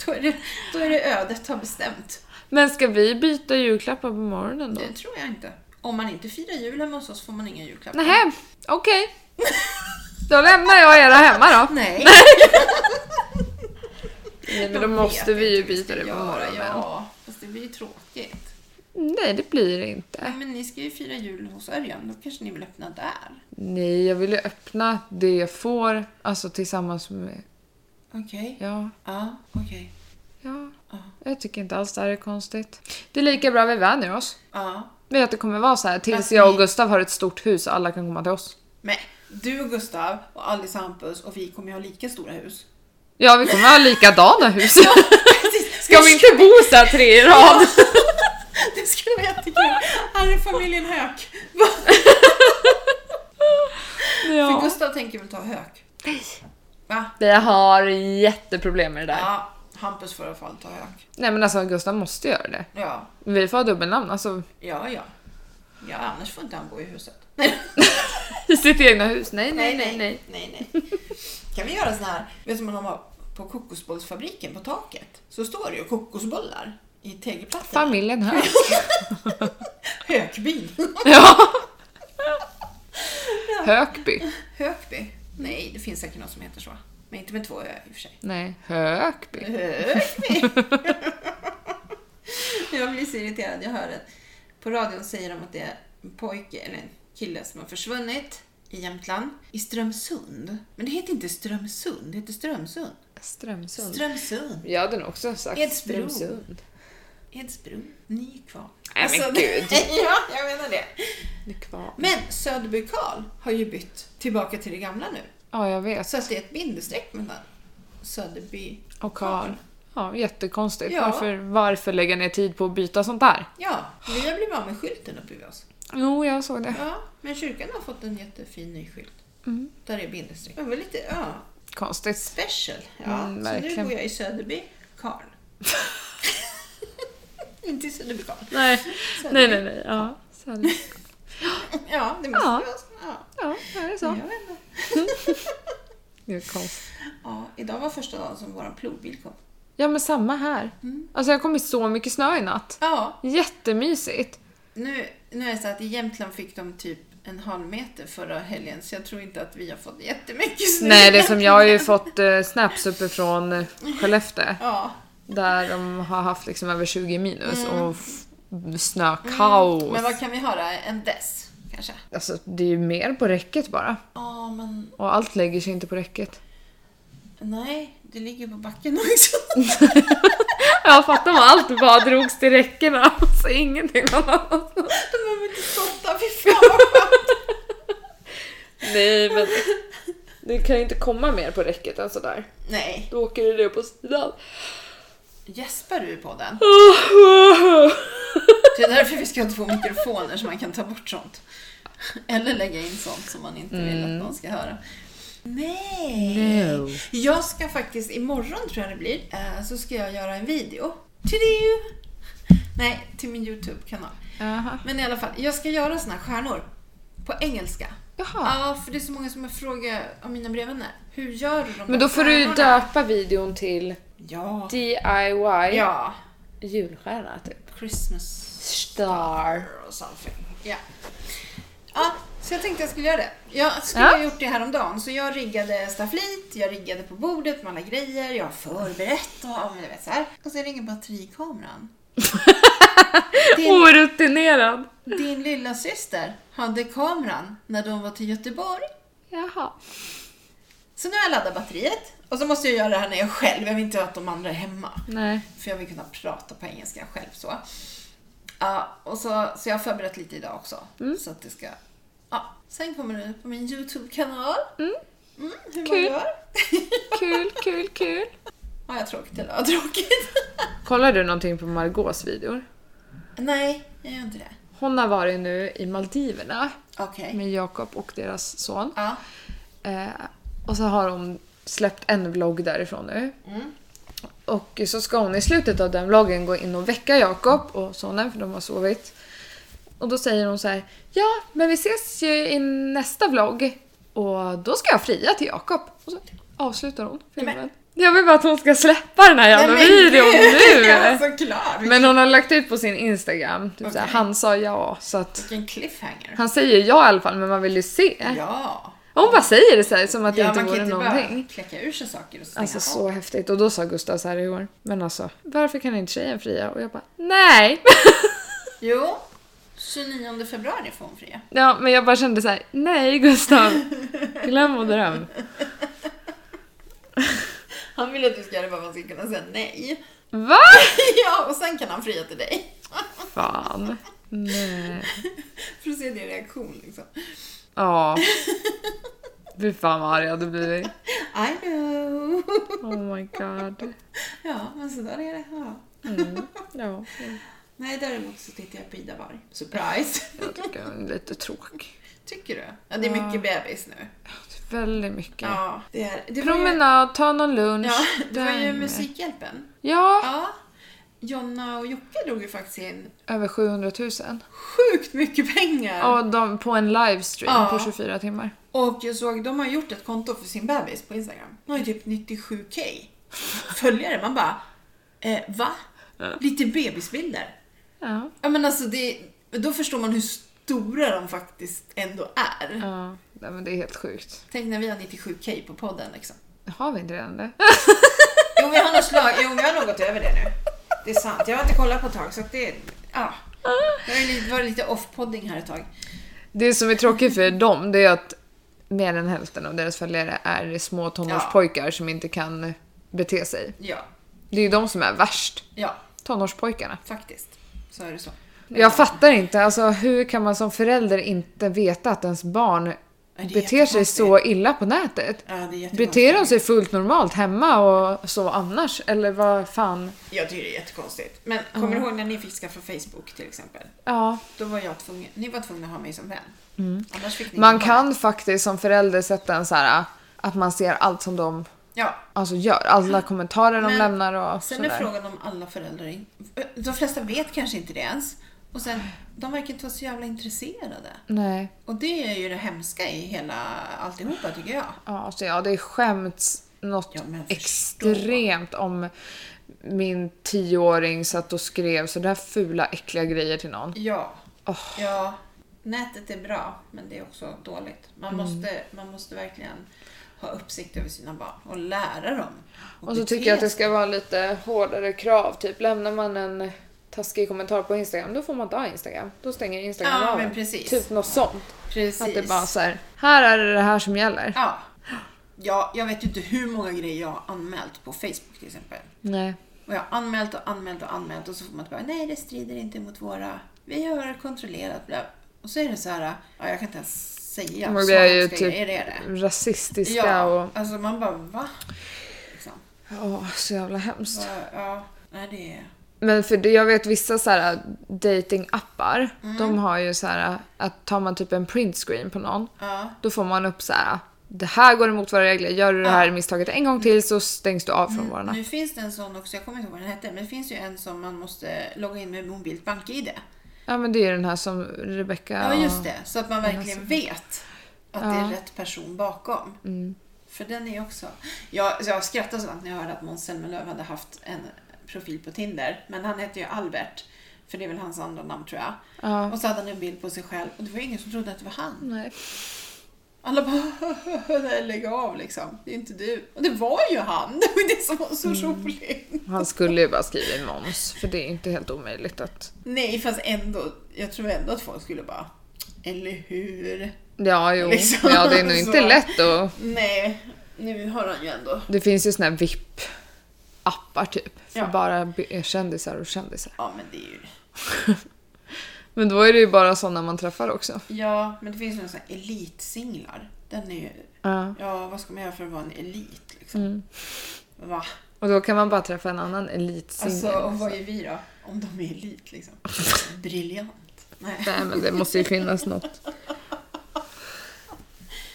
Då är det, då är det ödet har bestämt.
Men ska vi byta julklappar på morgonen då?
Det tror jag inte. Om man inte firar jul hemma hos oss får man inga julklappar.
Nej, okej. Då lämnar jag era hemma då.
Nej,
Nej, men
jag
då
vet
måste vi ju
inte hur
byta
ska
det på
göra.
morgonen.
Ja, fast det blir ju tråkigt.
Nej, det blir det inte.
Nej, men ni ska ju fira jul hos Örjan, då kanske ni vill öppna där?
Nej, jag vill ju öppna det jag får, alltså tillsammans med...
Okej.
Ja,
Ja, okej.
ja.
Ja.
Jag tycker inte alls det här är konstigt. Det är lika bra vi vänjer oss.
Ja.
Men att det kommer vara så här tills
Fast
jag
ni-
och Gustav har ett stort hus och alla kan komma till oss.
Men du och Gustav och Alice och Hampus och vi kommer ju ha lika stora hus.
Ja, vi kommer ha likadana hus.
Precis.
Ska vi inte bo så här tre i rad?
Det skulle vara jättekul. Här är familjen Höök. För
Ja.
Gustav tänker väl ta Höök? Va?
Det har jätteproblem med det där.
Ja, Hampus får i alla fall ta Höök.
Nej men alltså Gustav måste göra det.
Ja,
Vi får ha dubbelnamn, alltså
ja, ja. Ja, annars får inte han bo i huset. Nej,
i sitt egna hus. Nej, nej, nej, nej.
nej, nej. Kan vi göra sån här, vet du som man har på kokosbollsfabriken på taket? Så står det ju kokosbollar i tegelplattorna.
Familjen här.
Hökbyn.
Ja. Hökby.
Hökby? Nej, det finns säkert något som heter så. Men inte med två ö i och för sig.
Nej, Hökby.
Hökby! jag blir så irriterad, jag hör det. På radion säger de att det är en pojke eller en kille som har försvunnit i Jämtland. I Strömsund. Men det heter inte Strömsund, det heter Strömsund.
Strömsund.
Strömsund.
Jag hade nog också sagt
Edsbro.
Strömsund.
Edsbro. Ni är kvar. Alltså,
Nej, men gud.
ja, jag menar det.
Det är kvar.
Men Söderby Karl har ju bytt tillbaka till det gamla nu.
Ja, jag vet.
Så att det är ett bindestreck mellan Söderby
Och Karl. Ja, jättekonstigt.
Ja.
Varför, varför lägga ner tid på att byta sånt där?
Ja, vi har blivit av med skylten uppe vid oss.
Jo, jag såg det.
Ja, men kyrkan har fått en jättefin ny skylt.
Mm.
Där är bindestreck. Det var lite ja,
Konstigt.
special. Ja,
Mm,
så nu
verkligen.
bor jag i Söderby Karl. Inte i Söderby Karl.
Nej, nej, nej. nej. Ja, så är det.
Ja, det måste
Ja.
vara så. Ja.
ja, är det
Jag
så?
vet inte.
Det är konstigt.
Ja, idag var första dagen som vår plogbil kom.
Ja, men samma här. Alltså, jag kom i så mycket snö i natt.
Ja,
Jättemysigt.
nu, nu är det så att i Jämtland fick de typ en halv meter förra helgen så jag tror inte att vi har fått jättemycket snö.
Nej, det är som jag har ju fått eh, snaps uppifrån eh, Skellefteå.
Ja,
Där de har haft liksom över 20 minus och f- snökaos.
men vad kan vi höra? En dess kanske?
Alltså det är ju mer på räcket bara.
Ja, men
Och allt lägger sig inte på räcket.
nej, det ligger på backen också.
Jag fattar vad allt bara drogs till räckena. Alltså ingenting annat.
De behöver inte skotta, fy fan vad skönt.
Nej men. Det kan ju inte komma mer på räcket än sådär.
Nej,
Då åker det ner på sidan.
gäspar du i podden? Det är därför vi ska ha två mikrofoner så man kan ta bort sånt. Eller lägga in sånt som man inte vill att någon ska höra. Nej!
Mm. No.
Jag ska faktiskt, imorgon tror jag det blir, eh, så ska jag göra en video. Till you! Nej, till min YouTube-kanal.
Jaha.
Men i alla fall, jag ska göra såna här stjärnor. På engelska.
Jaha.
Ja, för det är så många som har frågat om mina brevvänner. Hur gör du de här
Men då får du ju
stjärnorna?
döpa videon till
Ja.
DIY
Ja.
julstjärna typ.
Christmas
Star.
or something. Ja. Ja, så jag tänkte jag skulle göra det. Jag skulle
Ja.
ha gjort det häromdagen, så jag riggade stafflit, jag riggade på bordet med alla grejer, jag har förberett och ja, men du vet så här. Och så ringer batterikameran. din,
Orutinerad.
din lilla syster hade kameran när de var till Göteborg.
Jaha.
Så nu har jag laddat batteriet och så måste jag göra det här när jag är själv, jag vill inte att de andra är hemma.
Nej.
För jag vill kunna prata på engelska
Mm.
själv så. Ja, och så, så jag har förberett lite idag också. Så att det ska Ja, sen kommer det på min YouTube-kanal.
Mm.
Mm, hur man
Kul.
gör.
Kul, kul, kul.
Har jag tråkigt eller har jag tråkigt?
Kollar du någonting på Margots videor?
Nej, jag gör inte det.
Hon har varit nu i Maldiverna
Okej.
med Jakob och deras son.
Ja.
Eh, och så har hon släppt en vlogg därifrån nu.
Mm.
Och så ska hon i slutet av den vloggen gå in och väcka Jakob och sonen för de har sovit. Och då säger hon så här, ja men vi ses ju i nästa vlogg och då ska jag fria till Jakob. Och så avslutar hon filmen. Jag vill bara att hon ska släppa den här jävla
Nej, men
videon
gud! alltså, Ja,
nu!
såklart! Vilken,
Men hon har lagt ut på sin Instagram, typ så här,
Okej.
han sa ja så att
vilken cliffhanger.
han säger ja i alla fall men man vill ju se.
Ja.
Och hon bara säger det så här som att det
ja,
inte
man kan
vore
inte
någonting.
bara kläcka ur sig saker och stänga
Alltså
av.
så häftigt. Och då sa Gustav så här igår. Men alltså, varför kan inte tjejen fria? Och jag bara, nej!
Jo, 29 februari får hon fria.
Ja, men jag bara kände så här, nej Gustav! Glöm och dröm.
Han vill att du ska göra vad man ska kunna säga nej.
Va?
Ja, och sen kan han fria till dig.
Fan. Nej.
För att se din reaktion liksom.
Ja. Fy fan vad arg jag hade blivit.
I know!
Oh my god.
Ja, men sådär är det. Ja.
Mm. Ja,
Nej, däremot så tittar jag på Ida Warg. Surprise!
jag tycker hon är lite tråkig.
Tycker du? Ja, det är mycket bebis nu.
Det är Väldigt mycket.
Ja, det är... Det var ju,
Promenad, ta någon lunch.
ja, det var
där
ju
med.
Musikhjälpen.
Ja,
Ja. Jonna och Jocke drog ju faktiskt in
över 700 000.
sjukt mycket pengar.
Ja, de, på en livestream
Ja.
på 24 timmar.
Och jag såg, de har gjort ett konto för sin bebis på Instagram. De har ju typ 97k följare. Man bara, eh, va? Lite bebisbilder?
Ja.
Ja men alltså det, då förstår man hur stora de faktiskt ändå är.
Ja, nej, men det är helt sjukt.
Tänk när vi har 97k på podden liksom.
Har vi inte redan det?
Jo vi har nog slag, jo vi har nog gått över det nu. Det är sant, jag har inte kollat på ett tag så att det, ja. Det har ju lite- varit lite off-podding här ett tag.
Det som är tråkigt för dem, det är att mer än hälften av deras följare är små tonårspojkar som inte kan bete sig.
Ja,
Det är ju de som är värst.
ja
Tonårspojkarna.
faktiskt. Så är det så.
Jag fattar inte, alltså hur kan man som förälder inte veta att ens barn
det är
beter sig så illa på nätet?
Ja, det är jättekonstigt.
Beter de sig fullt normalt hemma och så annars? Eller vad fan?
Jag tycker det är jättekonstigt. Men kommer du ihåg när ni fick skaffa Facebook till exempel?
Ja.
Då var jag tvungen, ni var tvungna att ha mig som vän. Annars fick ni
Mm. Man
inte ha mig.
kan faktiskt som förälder sätta en så här att man ser allt som de
Ja.
alltså gör. Alla kommentarer de
Men
lämnar och
Sen är
sådär.
frågan om alla föräldrar... in- eh, De flesta vet kanske inte det ens. Och sen, de verkar inte vara så jävla intresserade.
Nej.
Och det är ju det hemska i hela alltihopa tycker jag.
Ja, alltså, ja, det skämts något
Ja, men förstå.
extremt om min tioåring satt och skrev så där fula äckliga grejer till någon.
Ja.
Åh.
ja. Nätet är bra, men det är också dåligt. Man,
Mm.
måste, man måste verkligen ha uppsikt över sina barn och lära dem.
Och så
bete
tycker jag att det
sig.
ska vara lite hårdare krav. Typ lämnar man en taskig kommentar på Instagram, då får man inte ha Instagram. Då stänger Instagram
Ja,
av
men
en.
precis.
Typ något sånt.
Precis.
Att det bara så här, här är det det här som gäller.
Ja. ja. Jag vet ju inte hur många grejer jag har anmält på Facebook till exempel.
Nej.
Och jag har anmält och anmält och anmält och så får man bara nej det strider inte mot våra, vi har kontrollerat bla. Och så är det så här, ja jag kan inte ens säga
Men det är ju
samiska
typ
grejer är det.
Rasistiska
Ja,
och...
alltså man bara va? Liksom.
Ja, så jävla hemskt.
Så, ja, nej det är...
Men för det, jag vet vissa så här äh, datingappar,
Mm.
de har ju så här äh, att tar man typ en printscreen på någon,
Ja.
då får man upp så här äh, det här går emot våra regler, gör du det här misstaget en gång till så stängs du av från våra
Nu finns det en sån också, jag kommer inte ihåg vad den hette, men det finns ju en som man måste logga in med mobilt bank-id.
Ja men det är ju den här som Rebecca...
Ja, alltså. just det. Så att man verkligen vet att det är rätt person bakom. För den är också... Jag, så jag skrattade så att när jag hörde att Måns Zelmerlöw hade haft en profil på Tinder. Men han hette ju Albert. För det är väl hans andra namn tror jag.
Ja.
Och så hade han en bild på sig själv och det var ingen som trodde att det var han.
Nej.
Alla bara "Nej, lägg av liksom. Det är inte du. Och det var ju han! Det var det som var så roligt.
Han skulle ju bara skriva in moms, för det är inte helt omöjligt att...
Nej fast ändå. Jag tror ändå att folk skulle bara eller hur?
Ja, jo.
Liksom,
ja, det är nog
så.
inte lätt att...
Nej, nu har han ju ändå
Det finns ju såna här VIP-appar typ, för
Ja.
bara be- kändisar och kändisar.
Ja, men det är ju...
Men då är det ju bara sådana man träffar också.
Ja, men det finns ju några sådana här elitsinglar. Den är ju...
Ja.
Ja, vad ska man göra för att vara en elit? Liksom?
Mm.
Va?
Och då kan man bara träffa en annan elitsingel.
Alltså, och vad är vi då? Om de är elit liksom. Briljant. Nej.
Nej men det måste ju finnas något.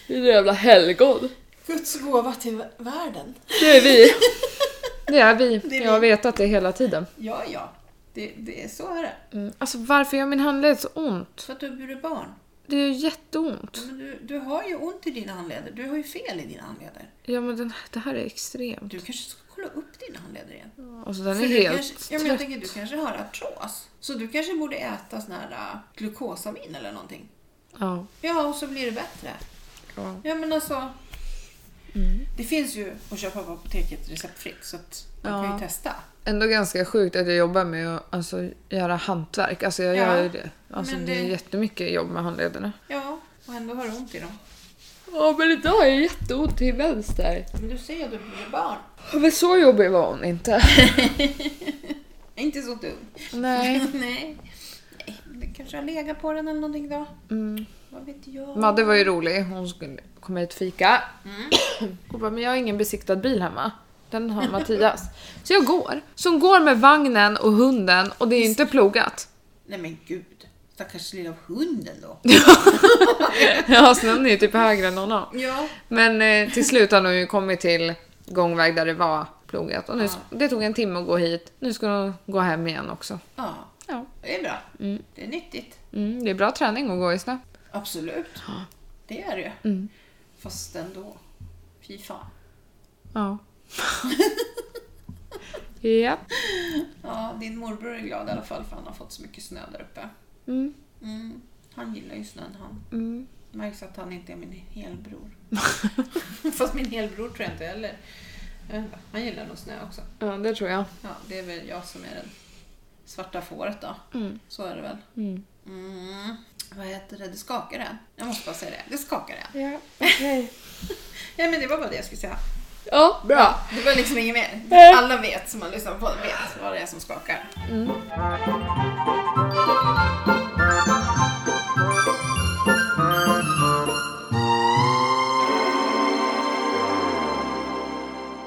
Det är jävla helgon.
Guds gåva till världen.
Det är vi. Det är vi.
Det är vi.
jag har vetat det hela tiden.
Ja, ja. Det, det är så är det.
Mm. Alltså varför gör min handled så ont?
För att du har burit barn.
Det gör jätteont.
Men du, du har ju ont i dina handleder. Du har ju fel i dina handleder.
Ja men den, det här är extremt.
Du kanske ska kolla upp dina handleder igen.
Alltså den
För
är
du
helt
kanske, ja, men jag
trött.
tänker, du kanske har artros. Så du kanske borde äta sån här äh, glukosamin eller någonting.
Ja.
Ja, och så blir det bättre.
ja.
Ja, men alltså.
Mm.
Det finns ju att köpa på apoteket receptfritt så att man
Ja.
kan ju testa.
Ändå ganska sjukt att jag jobbar med att alltså, göra hantverk. Alltså jag
Ja.
gör ju det. Alltså
Men
det... är
det-
jättemycket jobb med handlederna.
Ja, och ändå har du ont i dem.
Ja men idag är det jätteont till vänster.
Men du ser ju att du blir barn.
Men så jobbig var hon inte.
Inte så dum.
Nej.
Nej. Nej, det kanske har legat på den eller någonting då.
Mm.
Vad vet jag?
Madde var ju rolig. Hon skulle komma hit och fika. Hon bara, men jag har ingen besiktad bil hemma. Den har Mattias. Så jag går. Så hon går med vagnen och hunden och det är inte plogat.
Nej men gud. Stackars lilla hunden då.
Ja, snön är ju typ högre än någon annan.
Ja.
Men eh, till slut har hon ju kommit till gångväg där det var plogat. Och nu, Det tog en timme att gå hit. Nu ska hon gå hem igen också.
Ja,
Ja.
det är bra. Det är nyttigt.
Mm, det är bra träning att gå i snö.
Absolut. Det är det ju.
Mm.
Fast ändå. Fy fan.
Ja. Japp.
Ja, din morbror är glad i alla fall för han har fått så mycket snö där uppe.
Mm,
Mm. Han gillar ju snön han.
mm.
Märks att han inte är min helbror. Fast min helbror tror jag inte heller. Jag vet inte, Han gillar nog snö också.
Ja, det tror jag.
Ja, det är väl jag som är den svarta fåret då.
Mm.
Så är det väl.
Mm.
Mm. Vad heter det? Det skakar än. Jag måste bara säga det. Det skakar än.
Ja, okej.
Ja, men det var bara det jag skulle säga.
Ja, bra.
Det var liksom inget mer. Alla vet som har lyssnat på det vet vad det är som skakar.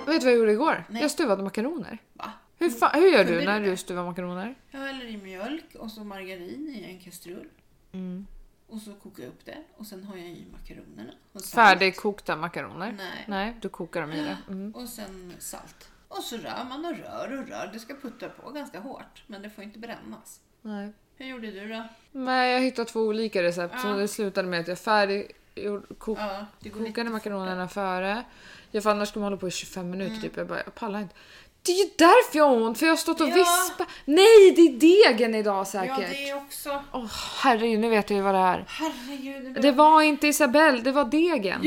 Vet du vad jag gjorde igår?
Nej.
Jag stuvade makaroner.
Va?
Hur, fa- hur gör
Kunde
du
du
när
det?
du stuvar makaroner?
Jag häller i mjölk och så margarin i en kastrull.
Mm.
Och så kokar jag upp det och sen har jag i makaronerna. Och salt.
Färdigkokta makaroner?
Nej.
Nej, du kokar dem i det. Mm.
Och sen salt. Och så rör man och rör och rör. Det ska putta på ganska hårt men det får inte brännas.
Nej.
Hur gjorde du då?
Nej, jag hittade två olika recept så
Ja.
det slutade med att jag färdiggjorde kok-
Ja, det går lite
kokade makaronerna före. Ja, för annars skulle man hålla på i 25 minuter
Mm.
typ. Jag bara, jag pallar inte. Det är ju därför jag har ont, för jag har stått och
Ja.
vispat. Nej, det är degen idag
Ja,
säkert.
det är också.
Åh herregud, nu vet jag ju vad det är.
Herregud. Det,
Det var inte Isabelle, det var degen.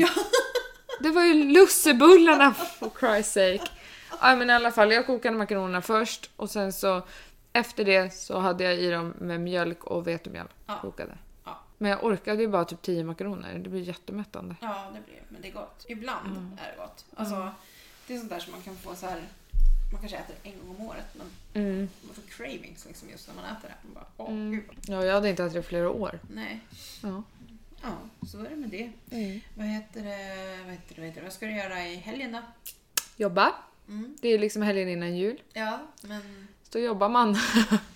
Det var ju lussebullarna for Christ's sake. Ja, men i alla fall, jag kokade makaronerna först och sen så efter det så hade jag i dem med mjölk och vetemjöl
Ja.
kokade.
Ja.
Men jag orkade ju bara typ 10 makaroner, det blir jättemättande.
Ja, det blir Men det är gott. Ibland
Mm.
är det gott. Alltså, Det är sånt där som man kan få så här... Man kanske äter en gång om året men
Mm.
man får cravings liksom just när man äter det. Man bara, åh gud.
Ja, jag hade inte ätit det i flera år.
Nej.
Ja.
Ja, så är det med det. Vad heter det? Vad, heter det, vad, heter det? vad ska du göra i helgen då?
Jobba,
Mm.
det är liksom helgen innan jul.
Ja, men,
Så jobbar man.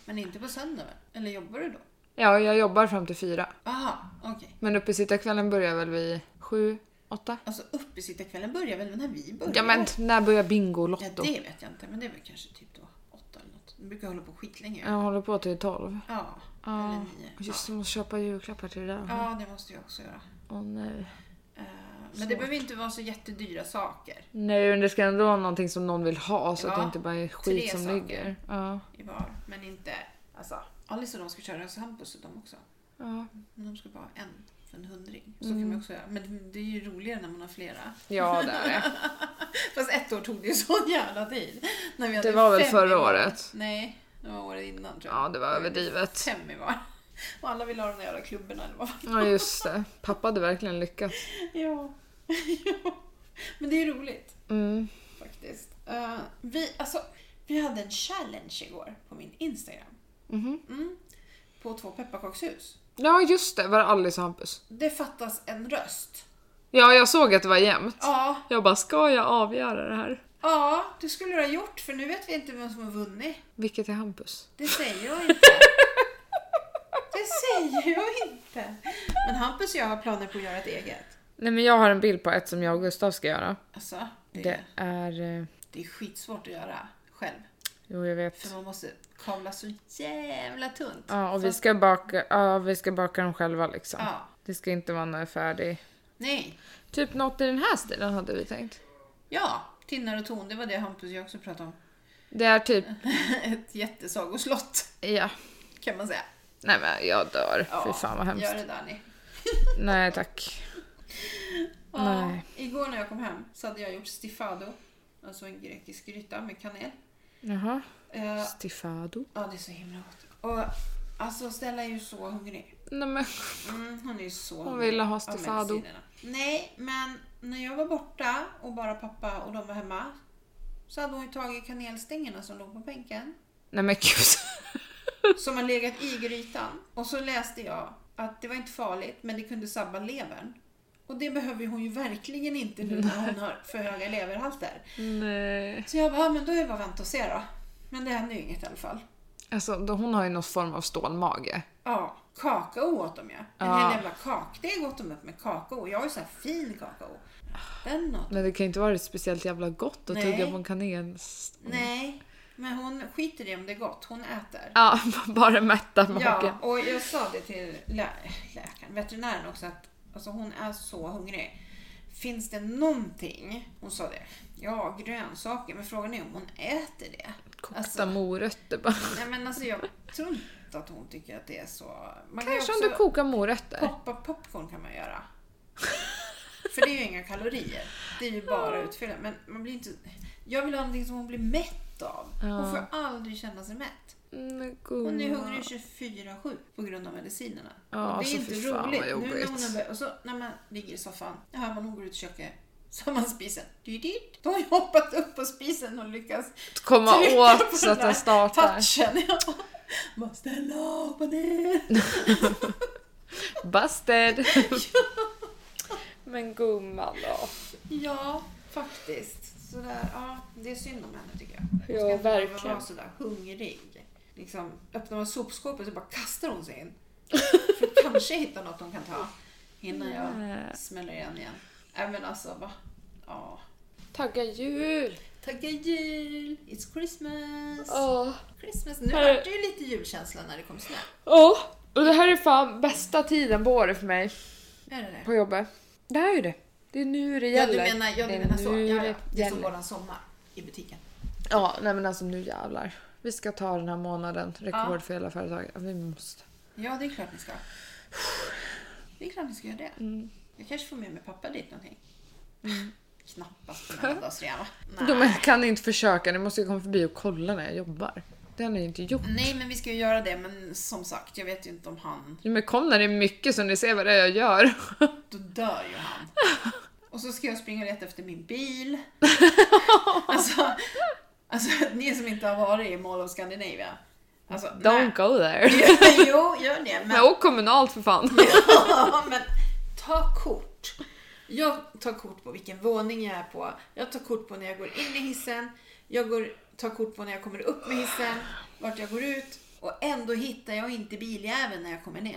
men inte på söndag väl? Eller jobbar du då?
ja, jag jobbar fram till fyra.
Aha, okej.
Men uppesittarkvällen börjar väl vid sju, åtta?
Alltså uppesittarkvällen börjar väl när vi börjar?
Ja men när börjar
ja,
Bingolotto?
det vet jag inte. Men det är väl kanske typ då åtta eller något. De brukar hålla på skitlänge.
Jag håller på till tolv.
Ja,
Ja.
eller nio. Ja.
Just det, måste köpa julklappar till det där. Åh
ja, det måste jag också göra.
nej.
Eh, Men det behöver inte vara så jättedyra saker
Nej men det ska ändå vara någonting som någon vill ha så att det
Ja,
inte bara är skit
tre
som
saker.
ligger. Ja.
i var. Men inte... Alltså, Alice och de ska köra hos Hampus och de också.
Ja.
Men de ska bara ha en för en hundring. Så
Mm.
kan man också göra. Men det är ju roligare när man har flera.
ja det är det.
Fast ett år tog det ju sån jävla tid. När vi hade
Det var väl
fem
förra
i var.
året?
Nej, det var året innan tror jag.
Ja det var överdrivet.
Fem i var. Och alla ville ha de där jävla klubborna eller vad
Ja just det. Pappa hade verkligen lyckats.
Ja. ja. Men det är roligt
Mm.
faktiskt. Eh, vi, alltså, vi hade en challenge igår på min Instagram.
Mhm.
Mm. på två pepparkakshus.
Ja, just det. Var det Alice och Hampus?
Det fattas en röst.
Ja, jag såg att det var jämnt.
Ja,
Jag bara, ska jag avgöra det här?
ja, det skulle du ha gjort för nu vet vi inte vem som har vunnit.
Vilket är Hampus?
Det säger jag inte. Det säger jag inte. Men Hampus och jag har planer på att göra ett eget.
Nej, men jag har en bild på ett som jag och Gustav ska göra.
Alltså, det,
Det är... eh,
det är skitsvårt att göra själv.
Jo, jag vet.
För man måste kavla så jävla tunt.
Ja, och vi ska baka, ja, vi ska baka dem själva liksom.
Ja.
Det ska inte vara någon färdig...
Nej.
Typ något i den här stilen hade vi tänkt.
Ja, tinnar och ton, det var det Hampus och jag också pratade om.
Det är typ,
Ett jättesagoslott
ja.
kan man säga.
Nej men jag dör. Fy fan vad hemskt.
Gör det där ni.
Nej tack.
Ja,
Nej.
Igår när jag kom hem så hade jag gjort stifado. Alltså en grekisk gryta med kanel.
Jaha.
Eh,
Stifado.
Ja, det är så himla gott. Och alltså Stella är ju så hungrig.
Nej men
Mm, hon är ju så
Hon
hungrig
ville ha
av
stifado.
medicinerna. Nej, men när jag var borta och bara pappa och de var hemma så hade hon ju tagit kanelstängerna som låg på bänken.
Nej men gud.
Som har legat i grytan. Och så läste jag att det var inte farligt men det kunde sabba levern. Och det behöver hon ju verkligen inte nu när hon har för höga leverhalter.
Nej.
Så jag bara, ja, men då är det bara att vänta och se då. Men det hände ju inget i alla fall.
Alltså då- hon har ju någon form av stålmage.
Ja, kakao åt de ju. En
Ja.
hel jävla kakdeg åt de upp med kakao. Jag har ju så här fin kakao. Den åt.
Men det kan ju inte vara speciellt jävla gott att
Nej.
tugga på en kanel.
Nej, men hon skiter i om det är gott. Hon äter.
Ja, bara mätta magen.
Ja, och jag sa det till lä läkaren, veterinären också att alltså, hon är så hungrig. Finns det någonting? Hon sa det. Ja, grönsaker. Men frågan är om hon äter det.
Kokta
Alltså,
morötter bara.
nej, men alltså, jag tror inte att hon tycker att det är så. Man kan ju
Kanske om
också-
du kokar morötter.
Poppa popcorn kan man göra. För det är ju inga kalorier. Det är ju bara utfyllnad. Men man blir inte... Jag vill ha någonting som hon blir mätt av.
Ja.
Hon får aldrig känna sig mätt.
Mm,
Hon är
gumma.
hungrig 24-7 på grund av medicinerna.
Ja,
Och det
alltså,
är inte
fy fan vad
roligt. Nu när
jobbigt.
hon har börjat, och så när man ligger i soffan, det hör man hon går ut i köket, så har man spisen. Dyrt. Då har jag hoppat upp på spisen och lyckats
Komma
trycka på
åt så att
där
den startar.
Touchen. Ja. Bara ställa hoppa ner.
Busted! Men gumman då.
Ja, faktiskt. Sådär, ja, det är synd om henne tycker jag.
Ja,
Hon ska inte behöva
verkligen.
vara sådär hungrig. Liksom, öppnar man sopskåpet så bara kastar hon sig in. För att kanske hitta något hon kan ta innan
Nej.
jag smäller igen igen. Nej men alltså va? Ja.
Tagga jul!
Tacka jul! It's Christmas!
Åh.
Christmas. Nu
Här-
vart det ju lite julkänsla när det kom snö.
Åh. Och det här är fan bästa tiden på året för mig
Är det det?
på jobbet. Det här är ju det. Det är nu det
Ja
gäller.
du menar, ja,
det är
du menar så.
nu
Ja, ja. Det är som
gäller.
våran sommar i butiken.
Ja, nej men alltså nu jävlar. Vi ska ta den här månaden, rekord för hela företaget. Ja, Vi måste.
Ja, det är klart ni ska. Det är klart ni ska göra det. Jag kanske får med mig pappa dit någonting. Knappast på mellandagsrea
Jo,
Nej.
men jag kan inte försöka, ni måste ju komma förbi och kolla när jag jobbar. Det har ni ju inte gjort.
Nej, men vi ska ju göra det. Men som sagt, jag vet ju inte om han...
Jo, Men kom när det är mycket så ni ser vad det är jag gör.
Då dör ju han. Och så ska jag springa och leta efter min bil. Alltså, alltså ni som inte har varit i Mall of Scandinavia. Alltså, nej.
Don't go there.
Jo, gör det. Men
Men åk kommunalt för fan.
Ja, men ta kort. Jag tar kort på vilken våning jag är på. Jag tar kort på när jag går in i hissen. Jag går, tar kort på när jag kommer upp med hissen. Vart jag går ut. Och ändå hittar jag inte biljäveln när jag kommer ner.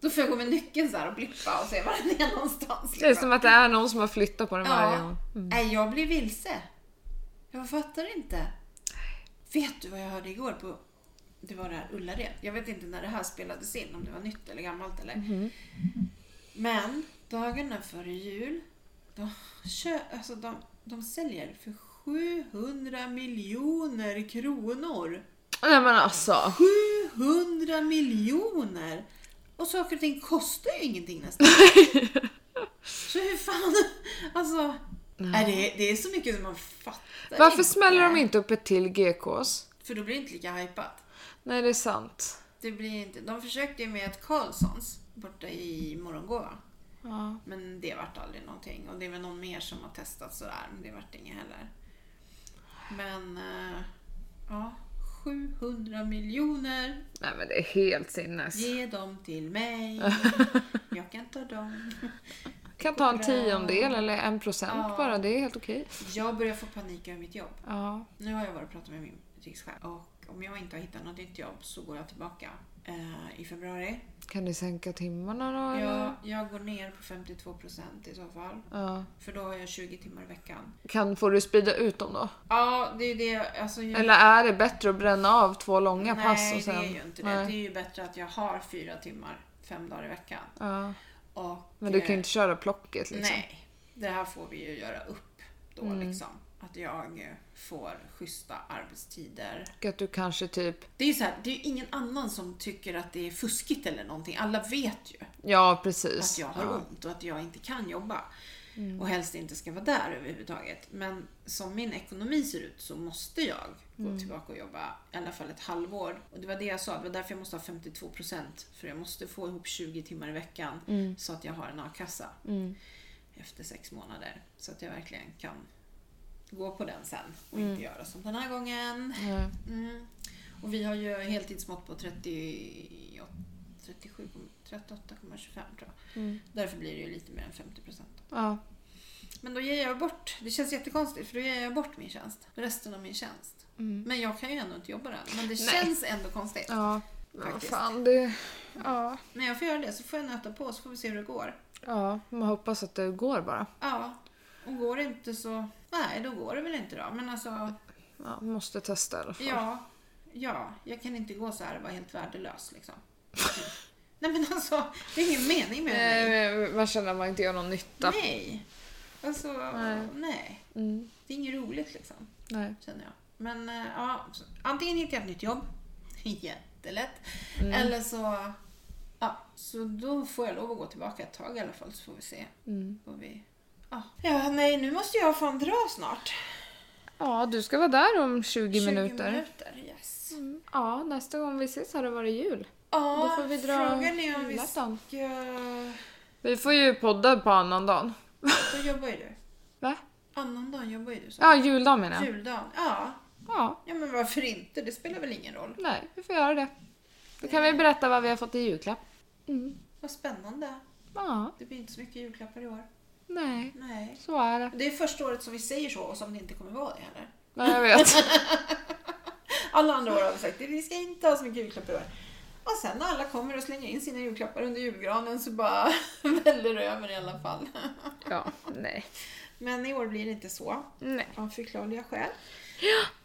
Då får jag gå med nyckeln så här och blippa och se var den är någonstans. liksom.
Det är som att det är någon som har flyttat på den varje
ja.
gång. Mm.
Nej, jag blir vilse. Jag fattar inte. Vet du vad jag hörde igår på det var det här Ullared. Jag vet inte när det här spelades in, om det var nytt eller gammalt eller.
Mhm.
Men dagarna före jul, de, kö, alltså de, de säljer för 700 miljoner kronor.
Nej men alltså.
700 miljoner! Och saker och ting kostar ju ingenting nästan. så hur fan... Alltså... Nej. Det, det är så mycket som man fattar
Varför
inte.
smäller de inte upp ett till GKs?
För då blir det inte lika hypat.
Nej det är sant.
Det blir inte. De försökte ju med ett Carlsons borta i Morgongåva.
Ja.
Men det vart aldrig någonting. Och det är väl någon mer som har testat sådär. Men det vart inget heller. Men eh, ja, 700 miljoner.
Nej men det är helt sinnes.
Ge dem till mig. Jag kan ta dem.
Kan ta en tiondel eller en procent
Ja.
bara, det är helt okej.
Jag börjar få panik över mitt jobb.
Ja.
Nu har jag varit och pratat med min butikschef och om jag inte har hittat något nytt jobb så går jag tillbaka eh, i februari.
Kan du sänka timmarna då
Jag,
eller?
jag går ner på 52% i så fall.
Ja.
För då har jag 20 timmar i veckan.
Kan, får du sprida ut dem då?
Ja, det är ju det. Alltså, jag,
Eller är det bättre att bränna av två långa
nej,
pass och sen...
det är ju inte det.
Nej.
Det är ju bättre att jag har fyra timmar fem dagar i veckan.
Ja.
Och,
Men du kan ju
eh,
inte köra plocket liksom. Mm.
Nej, det här får vi ju göra upp då liksom. Att jag eh, får schyssta arbetstider.
Och att du kanske typ...
Det är ju så här, det är ju ingen annan som tycker att det är fuskigt eller någonting. Alla vet ju
Ja
att
precis.
jag har
ja. Mm.
ont och att jag inte kan jobba. Och helst inte ska vara där överhuvudtaget. Men som min ekonomi ser ut så måste jag
Mm.
gå tillbaka och jobba i alla fall ett halvår. Och det var det jag sa, det var därför jag måste ha 52% för jag måste få ihop 20 timmar i veckan
Mm,
så att jag har en a-kassa efter sex månader. Så att jag verkligen kan gå på den sen och inte göra som den här gången.
Nej.
Mm. Och vi har ju heltidsmått på 38, 37, 38,25 tror jag. Därför blir det ju lite mer än 50 procent.
Ja.
Men då ger jag bort, det känns jättekonstigt för då ger jag bort min tjänst. Resten av min tjänst. Men jag kan ju ändå inte jobba den. Men det känns ändå konstigt.
mm. Ja. Men vad
Faktiskt.
fan det... Ja.
Men jag får göra det så får jag nöta på så får vi se hur det går.
Ja, man hoppas att det går bara.
Ja, och går det inte så, nej då går det väl inte då. Men alltså,
Ja, måste testa i alla fall.
ja, ja, jag kan inte gå så här och vara helt värdelös liksom. nej men alltså, det är ingen mening med mig.
Nej, men Eh, man känner att man inte gör någon nytta.
Nej. Alltså,
Nej.
nej.
Mm.
Det är inget roligt liksom,
Nej.
känner jag. Men eh, ja, så, antingen hittar jag ett nytt jobb. Jättelätt.
Mm.
Eller så... Ja, så då får jag lov att gå tillbaka ett tag i alla fall så får vi se.
Mm.
Får vi, ja. ja, nej nu måste jag fan dra snart.
Ja, du ska vara där om 20, minuter. Mm.
minuter, yes.
Ja, nästa gång vi ses har det varit jul.
Ja,
Då får vi dra
frågan är om vi
julafton.
ska...
Vi får ju podda på annandagen.
Då jobbar ju du.
Va?
Annandagen jobbar ju du. Så.
Ja, juldagen menar jag.
Juldagen, ja.
Ja,
Ja men varför inte? Det spelar väl ingen roll.
nej, vi får göra det. Då kan vi berätta vad vi har fått i julklapp.
Vad spännande.
Ja,
Det blir inte så mycket julklappar i år.
nej,
Nej.
så är det.
Det är första året som vi säger så och som det inte kommer vara det heller.
Men jag vet.
Alla andra år har vi sagt att vi ska inte ha så mycket julklappar i år. Och sen när alla kommer och slänger in sina julklappar under julgranen så bara väller det över i alla fall.
Ja, nej.
Men i år blir det inte så.
Nej.
Av förklarliga skäl.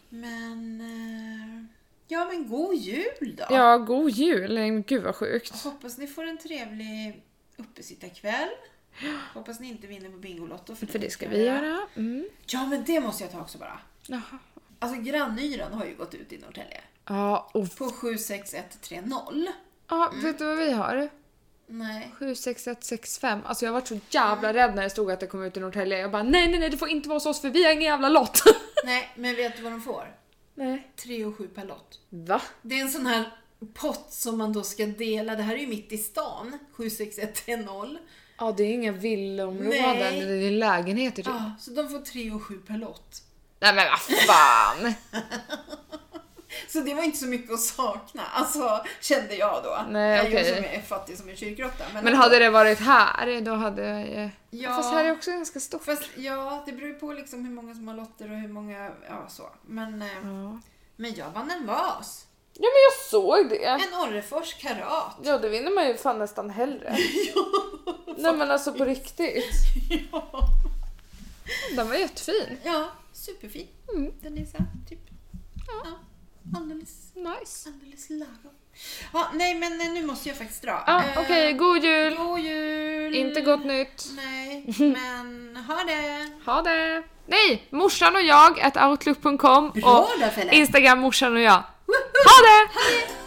Men... eh, Ja men god jul då!
Ja, god jul. Gud vad sjukt.
Hoppas ni får en trevlig uppesittarkväll. Hoppas ni inte vinner på Bingolotto.
För det ska vi göra. Mm.
Ja men det måste jag ta också bara.
Jaha.
Alltså Grannyran har ju gått ut i Norrtälje.
Ja, och
På 76130.
ja, vet du vad vi har?
Nej.
76165. Alltså jag var så jävla rädd när det stod att det kom ut i Norrtälje. Jag bara nej, nej, nej, det får inte vara hos oss för vi har ingen jävla lott.
Nej, men vet du vad de får?
Nej.
3 och 7 per lott.
Va?
Det är en sån här pott som man då ska dela. Det här är ju mitt i stan. 76130.
Ja, det är inga villaområden,
Nej.
det är lägenheter typ.
Ja, så de får 3 och 7 per lott.
Nej men vad fan!
Så det var inte så mycket att sakna. Alltså, kände jag då.
Nej,
jag
okej.
är som är fattig som en kyrkråtta.
Men hade det varit här, då hade jag ju...
Ja.
Fast här är också ganska stort.
Fast ja, det beror ju på liksom hur många som har lotter och hur många, ja så. Men, eh,
Ja.
men jag vann en vas.
ja men jag såg det!
En Orrefors karat.
Ja det vinner man ju fan nästan hellre. Nej men alltså på riktigt.
Ja.
Den var jättefin.
Ja, superfin.
Mm.
Den är så här, typ, ja, alldeles,
Nice.
alldeles lagom. Ja, nej men eh, nu måste jag faktiskt dra.
Ah,
Eh,
Okej, god jul!
God jul!
Inte gott nytt.
Nej, men ha det!
Ha det! Nej! Morsan och jag at outlook.com
Bra
och
då Felle!
Instagram morsan och jag.
Woho!
Ha det!
Ha det!